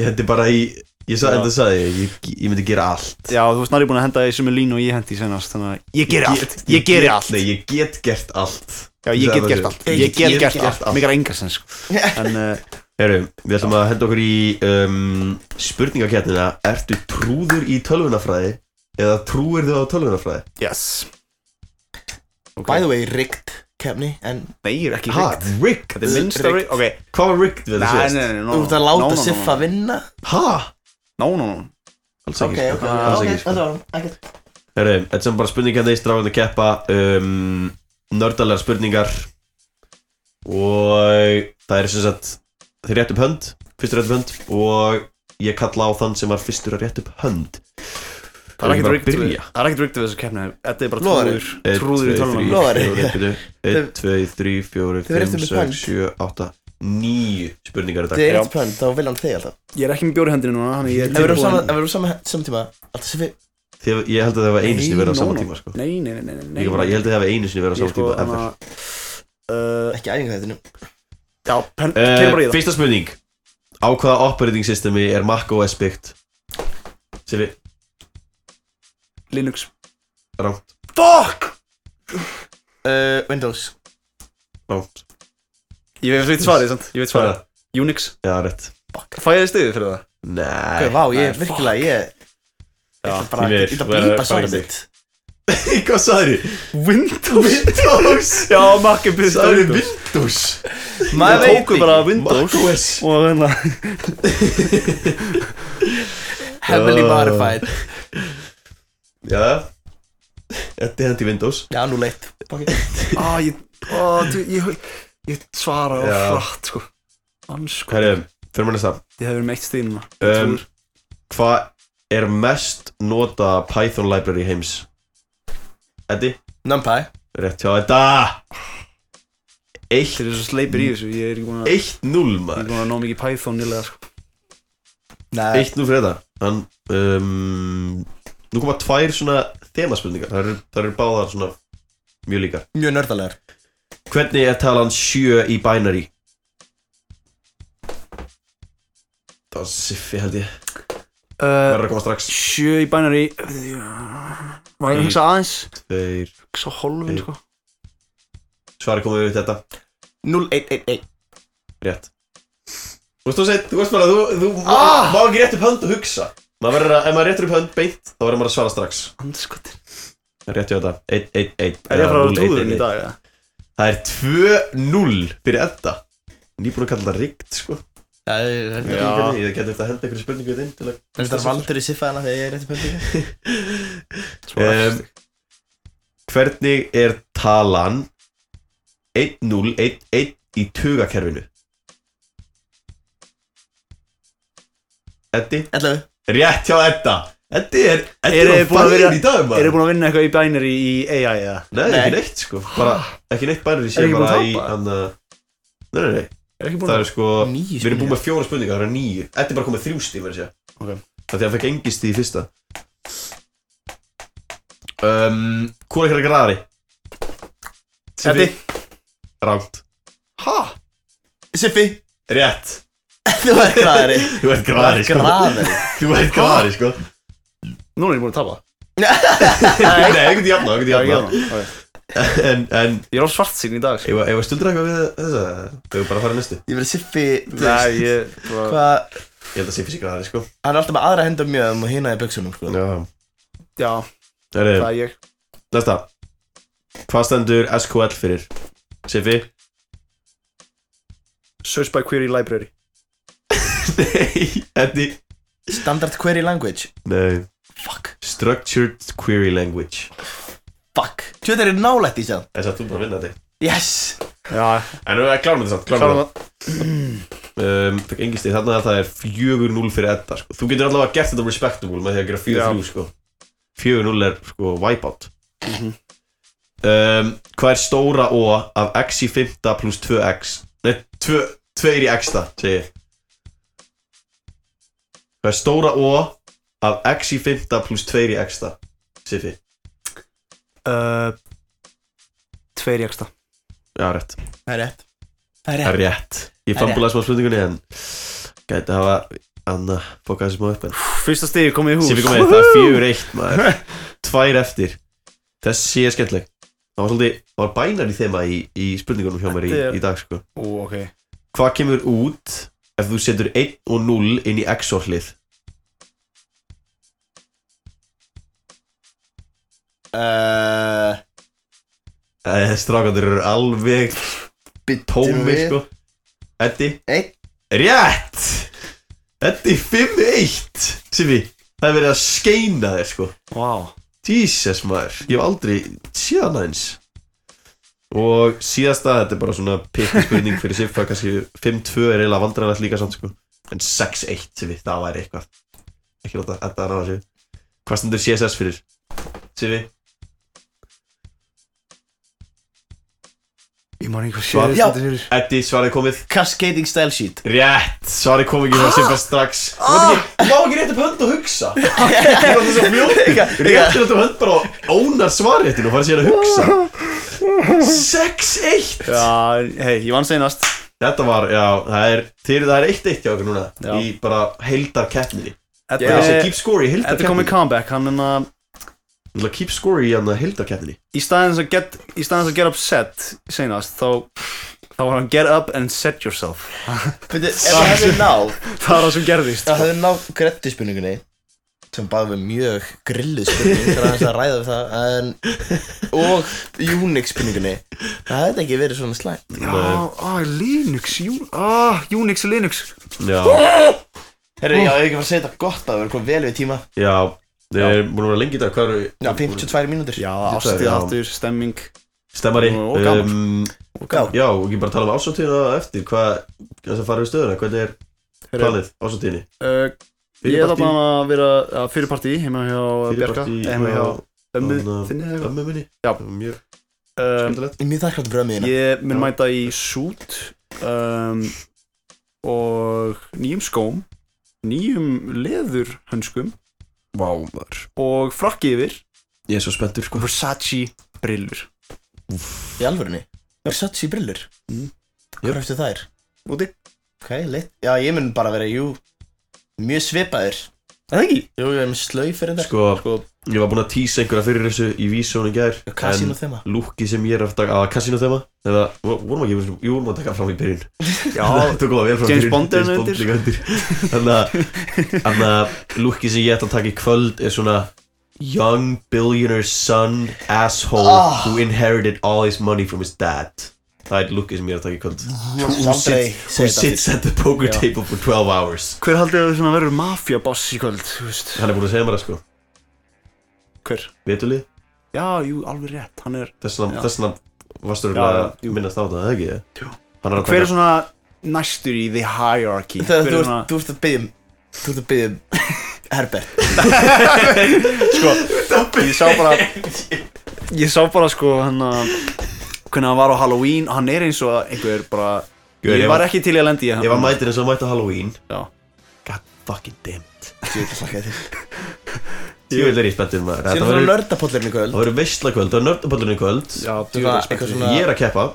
S3: ég hendi bara í ég
S2: Já.
S3: sagði þetta sagði ég, ég, ég myndi gera allt
S2: Já, þú varst nærið búin að henda í sömu línu og ég hendi í senast Þannig að ég geri
S3: get-
S2: allt, ég geri
S3: get-
S2: allt
S3: Nei, ég get gert allt
S2: Já, ég get gert allt, ég get gert allt Mér er enga <laughs> sem sko En, uh,
S3: Heru, við ætlum að henda okkur í um, spurningaketnina Ertu trúður í tölvunafræði eða trúir þau á tölvunafræði?
S2: Yes
S1: By the way, rigged kefni en
S2: Nei, ég er ekki
S1: Ha,
S2: rigged.
S3: rigged?
S2: Þetta er minnsta
S1: Rigged.
S2: rigged, ok.
S3: Hvað var rigged við
S2: Nei,
S3: það síðast?
S2: nei, nei, no,
S1: Þú ert að
S2: no, no,
S1: láta
S2: no,
S1: Siffa
S2: no.
S1: vinna
S3: Ha?
S2: No, no, no
S3: Alls ekki
S1: Ok,
S3: sko.
S1: ok, ok,
S3: Alls
S1: ok,
S3: ekki sko.
S1: þetta var ekkert
S3: Heru, Þetta sem bara spurningaketni í strafan að keppa um, Nördalegar spurningar Og það er sem sagt Þeir rétt upp hönd Fyrst rétt upp hönd Og ég kalla á þann sem var fyrstur að rétt upp hönd
S2: Það er
S3: Eigum
S2: ekkert
S3: bara að
S2: rigged við-
S3: byrja?
S2: það er ekkert rigged við þessu keppni Þetta er bara
S1: Lofar
S2: trúður, trúður í tölvunum
S1: Lofar.
S2: <laughs>
S3: 1, 2, 3, 4,
S1: Þau eru
S3: 5,
S1: eftir
S3: 6,
S1: með pönt.
S3: 7, 8 9 spurningar í
S1: Þið er
S3: dag
S1: eitt pönn, þá vil hann þig alltaf
S2: Ég er ekki með bjóri hendinu núna, þannig ég er
S1: Ef við erum
S2: tilbúinn.
S1: saman- ef við erum saman samtíma Alltaf Siffi
S3: Þið, ég held að það var einu sinni verið á
S2: Nei,
S3: sama
S2: no, no.
S3: tíma sko.
S2: Nei, nei, nei, nei, nei
S3: Líka bara, ég held að það var einu sinni verið á
S2: Ég sko,
S3: sama tíma ever.
S2: Eh, uh,
S1: Ekki æfinga þetta
S2: Já, pen, uh,
S3: Eh,
S2: bara í það
S3: Fyrsta spurning Á hvaða operating systemi er Mac OS byggt? Sifi,
S2: Linux
S3: rámt,
S2: Fuck!
S1: uh, Windows
S3: rámt
S2: Ég veit- veit svarið, sant? Ég veit svarið Unix
S3: Já, rétt
S2: Fæ ég stiðið fyrir það?
S3: Nei
S1: Hvað, vá, ég
S2: Nei,
S1: er virkilega, ég Ég ætla bara,
S3: því miður,
S1: ég ætla að
S3: verður
S1: blípa
S3: bara
S1: svarið
S3: ekki.
S1: mitt
S3: <laughs> Hvað sagði þið?
S2: Windows
S3: Windows
S2: <laughs> Já, Mac er byggt á
S3: Sagði
S2: Windows.
S3: Windows
S2: Maður
S1: veit
S2: tóku
S1: ekki.
S2: bara Windows
S3: Mac OS
S2: Og hérna
S1: Heavily
S3: Ah.
S1: modified
S3: Já Þetta er hendi Windows
S1: Já, nú leitt
S2: Á, ég Ó, þú, ég Ég svara á
S3: Já.
S2: frætt, sko Ansko
S3: Herru, fyrir maður næsta
S2: Þið hefur meitt stiðið núna Ég
S3: um,
S2: trúi.
S3: Hvað er mest nota Python library heims? Eddi?
S1: NumPy
S3: Rétt hjá þetta Eitt
S2: Þeir eru svo sleipir í þessu Ég er ekki búin að Ég
S3: 1-0
S2: er
S3: maður
S2: ekki búin að ná mikið Python nýlega, sko
S1: Nei,
S3: 1-0 fyrir þetta Hann um, Nú koma tvær svona þemaspurningar Það eru, það eru báðar svona Mjög líkar
S1: mjög nördalegar
S3: Hvernig er talan 7 í binary? Það var siffi held ég
S2: Uh,
S3: Verður að koma strax
S2: Sjö í bænari Var ég að hugsa aðeins
S3: Tveir
S2: Hugsa hólfin
S3: Eitt.
S2: sko
S3: Svari komið við þetta
S1: 0111
S3: Rétt Þú veist þú sett, þú veist bara, þú, þú ah! má ekki rétt upp hönd og hugsa Maður verður að, ef maður réttur upp hönd beint, þá verður maður að svara strax
S2: Andskotir
S3: Rétt hjá þetta, 1-1-1
S2: Er ég að fara að vera trúðurinn í dag, eða?
S3: Það er 2-0 fyrir Edda Nýbúin að kalla þetta rigt, sko
S1: Já, ég
S3: Já. Ég geti eftir að henda einhverju spurningu þetta inn til að
S2: <laughs>
S1: Það er þetta valdur í siffa hana þegar ég er rétt í pöldingu
S3: um, Hvernig er talan 1-0-1-1 í tugakerfinu? Eddi?
S1: 11
S3: Rétt hjá Edda Eddi er, Eddi
S2: Eru
S3: er, er
S2: þið búin að
S3: bæðin í dag
S2: vinna-
S3: maður
S2: eru þið búin að vinna eitthvað í bænari í AI eða?
S3: Nei, ekki neitt sko bara, Ekki neitt bænari
S2: Er
S3: sé
S2: ekki búin
S3: bara
S2: að
S3: í
S2: tapa?
S3: hann að Nei, nei,
S2: Er
S3: nei
S2: ekki búin
S3: Það
S2: að-
S3: er sko
S2: Níu
S3: Við erum búin með fjóra spurningar, það eru nýju Eddi er bara komið þrjú stíð verið sé
S2: Ok.
S3: Það því að hann fekk engi stíð í fyrsta um, Hvor er ekki ræðari?
S1: Eddi.
S3: Ránt
S1: Hæ? Siffi
S3: Rétt
S1: Þú ert graðari
S3: Þú ert graðari
S1: Þú ert graðari.
S3: <laughs> Þú ert graðari sko
S2: Núna er ég búin að tapa
S3: Nei, einhvern tíu jafna, einhvern tíu
S2: Já, ég
S3: jafna <laughs>
S2: jafna,
S3: En, en
S2: Ég er á svart í dag sko.
S3: Ég var stuldur eitthvað við þessa Þau eru bara að fara næstu
S1: Ég verið Siffi þú
S2: Nei,
S1: veist,
S2: ég
S1: Hvað
S3: Ég held að sé físikra það, sko
S1: Hann er alltaf með aðra henda mjög og hina í buksunum sko.
S3: Já
S2: Já,
S3: Það
S2: það er ég
S3: Næsta Hvað stendur SQL fyrir? Siffi
S2: Search by Query Library
S3: Nei, Eddi
S1: Standard query language
S3: Nei Fuck Structured Query Language
S1: Fuck Tjóð er nálætt í sér
S3: Þess að þú bara vinna þetta
S1: Yes
S2: Já
S3: En við klárum þetta samt Klárum þetta um, Fekk engi stíð þarna að það er 4-0 fyrir Edda sko. Þú getur allavega gert þetta respectable með því að gera 4-3 sko. 4-0 er sko wipeout
S2: Mhm.
S3: um, Hvað er stóra O af x í 5 pluss 2x Nei, 2, 2 í x það, segi ég Hvað er stóra O af x í 5 pluss 2 í x það, Siffi
S2: uh, Tveir jaksta
S3: Já, rétt
S1: Það er rétt Það er
S3: Það er
S1: rétt
S3: rétt Ég
S1: Það er
S3: fambulaði smá spurningunni en Gæti hafa Anna fokkaði smá upp en
S2: Fyrsta stigi komið í hús
S3: Siffi komið, það er fjögur eitt maður Tvær eftir Þessi er skemmtileg Það var svolítið, það var bænar í þema í, í spurningunum hjá mér í,
S2: Þetta er-
S3: í dag sko
S2: Ú, ok
S3: Hvað kemur út ef þú setur 1 og 0 inn í XOR hlið?
S1: Uh,
S3: Strákandur Eh, eru alveg tómi
S1: við.
S3: sko Eddi
S1: Einn.
S3: Rétt Eddi 5-1 Siffi, það er verið að skeina þér sko
S2: Wow
S3: Jesus maður, ég hef aldrei séð hann aðeins Og síðasta, þetta er bara svona pitti spurning fyrir Siffa, kannski 5-2 er eiginlega vandræðanlegt líka samt sko En 6-1 Siffi, það væri eitthvað Ekki láta þetta að ráða sig Hvað stendur CSS fyrir? Siffi,
S2: Ég man ekki hvað
S3: svar
S2: séð stendur fyrir.
S3: Eddi, svarið komið
S1: Cascading style sheet
S3: Rétt, svarið komið ekki frá Siffa strax Þú veit ekki, Ah! Má ekki rétt upp hönd og hugsa <laughs> Þú er þess að fljóttur Réttir upp hönd bara og ónar svarréttinu og fara sér að hugsa 6-1
S2: Já, hei, ég vann seinast
S3: Þetta var, já, það er, þeir, það er eitt eitt hjá okkur núna Í bara heildar keppninni
S2: Þetta
S3: Það er þess að keep score í
S2: Þetta er komið
S3: heildarkeppninni
S2: comeback Hann er að
S3: Það er keep score í hann að heildarkeppninni
S2: Í staðins að get Í staðins að get upset Seinast Þá Þá var hann get up and set yourself <laughs>
S1: Veitu, ef það hefði náð
S2: Það er það sem gerðist
S1: Það hefði náð grettu spurningunni sem bæði við mjög grillu spurning það er aðeins að ræða við það en, og Unix spurningunni það hefði ekki verið svona slæmt
S2: Já,
S3: Eh,
S2: á, Linux Jú- á, Unix, Linux
S3: Já,
S1: Herri, já, ég hef ekki fara að segja þetta gott að við erum komið vel við tíma
S3: já, þeir eru múin að vera lengi í dag, hvað eru
S1: Já, 52 mínútur
S2: Já,
S3: Þetta er-
S2: ástíð
S3: já.
S2: aftur, stemming
S3: Stemmari
S2: Og gaman.
S3: um,
S1: gaman.
S3: Já, og ekki bara tala um ásáttíðina eftir Hvað, þess að fara við stöðuna, hvernig er
S2: Herra.
S3: planið ásáttíðinni?
S2: Uh, Ég
S3: Fyrir
S2: er
S3: partí.
S2: þarna að vera að fyrirparti heima hjá
S3: Fyrir
S2: Bjarka
S3: partí
S2: heima hjá ömmu
S3: þarna-
S2: þinni eða eitthvað.
S3: Ömmu minni
S2: Já.
S3: Mjög
S2: Um,
S1: Ég er mjög þakklátt fyrir ömmuðina
S2: Ég mun
S1: Já.
S2: mæta í sút um, og nýjum skóm nýjum leðurhönskum
S3: Vá, maður
S2: og frakki yfir
S3: Ég er svo spenntur, sko
S2: Versace brillur
S1: í alvörunni Versace brillur
S2: Mm.
S1: Hvað hefstu þær?
S2: Úti
S1: Ok, lit Já, ég mun bara vera, jú, mjög svipaður
S2: Er það ekki?
S1: Jú, ég er með slöy fyrir þetta
S3: Sko,
S2: Sko,
S3: Ég var búinn að tísa einhverja fyrir þessu í vísjónu í gær
S1: Casino
S3: en
S1: þema.
S3: Lúkki sem ég er aftur að Casino þema Eða, vo- vorum ekki, jú, vorum að taka fram í byrjun
S2: Já,
S3: <laughs> tökum það vel fram í
S2: James
S3: byrjun.
S2: Bond er hérna undir.
S3: líka undir Þannig að- þannig að lúkki sem ég ætla að taka í kvöld er svona Young billionaire son asshole
S1: Ah.
S3: Who inherited all his money from his dad Það er lúkki sem ég er að taka í kvöld Who
S1: Aldrei
S3: sits-
S1: segir
S3: who
S1: þetta
S3: sits
S1: aftur.
S3: at the poker
S1: Já.
S3: table for 12 hours
S2: Hver haldið að það verður mafjaboss í kvöld, þú veist?
S3: Hann er búinn að segja mér það sko
S2: Hver?
S3: Vetulið?
S2: Já, jú, alveg rétt, hann er Já.
S3: Þess vegna varstur
S2: Já, já,
S3: að minnast á það, eða ekki? Hann að
S2: Hver
S3: taka-
S2: er svona næstur í the hierarchy?
S1: Þegar
S2: Hver er
S1: þú ert, þú ert að byggja um Þú ert að byggja um Herbert
S2: sko, ég sá bara <laughs> ég sá bara sko hann að hvernig hann var á Halloween hann er eins og einhver bara
S3: Guð,
S2: ég
S3: ég
S2: var
S3: var-
S2: ekki til í að lendi í hann
S3: Ég var mætir eins og mætti á Halloween
S2: Já.
S3: God fucking damned
S1: Ég vil þakka þér
S3: Ég vil er ég spenntur maður
S1: Síðan
S3: Þetta
S1: þú
S3: verður-
S1: nördapollurinn í kvöld
S3: Það verður veistla kvöld, það er nördapallurinn í kvöld
S1: Já, djú, Svona, eitthvað
S3: spenntur.
S1: svona-
S3: Ég er að keppa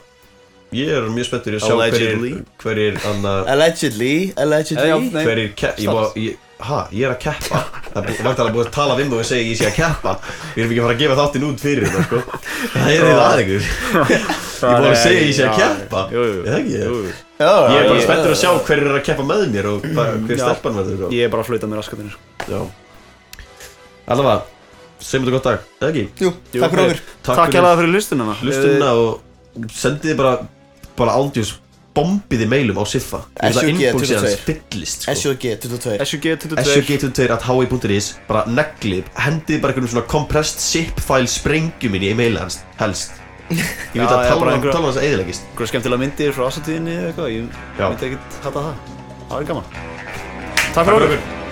S3: Ég er mjög spenntur í að sjá hverjir
S1: Allegedly.
S3: Hverjir annað
S1: Allegedly, allegedly
S3: Hverjir ke- ég bara- ég- Ha, ég er að keppa Það er vantalega búið að tala við mig og segja að ég sé að keppa Við erum ekki að fara að gefa þáttinn út fyrir þetta sko Það er eitthvað aðeins Ég er búin að segja að ég sé að keppa Eða ekki? Ég er bara spenntur að sjá hverjir er að keppa með mér og hvað- hver
S2: Já.
S3: stelpan verður sko.
S2: ég er bara að flauta mér raskatinn sko.
S3: Já Allavega, segjum þetta gott dag, eða ekki?
S1: Jú,
S2: Jú, takk fyrir okkur. Takk hérlega fyrir hlustunina.
S3: Hlustunina og sendiði bara, bara ándjós bombiði mailum á Siffa Ég vil að inboxið hans fyllist sko.
S2: Eh,
S1: SUG22
S2: SUG22
S3: SUG22 at hi.is bara neglið, hendiði bara einhvern svona compressed zip file sprengjum inn í mail hans helst Ég
S2: Já,
S3: veit að
S2: já, bara
S3: tala um
S2: einhver-
S3: hans að eðilegist
S2: einhverja skemmtilega myndir frá ásatíðinni eða eitthvað ég
S3: Já.
S2: myndi ekkert hata það það er gaman takk fyrir okkur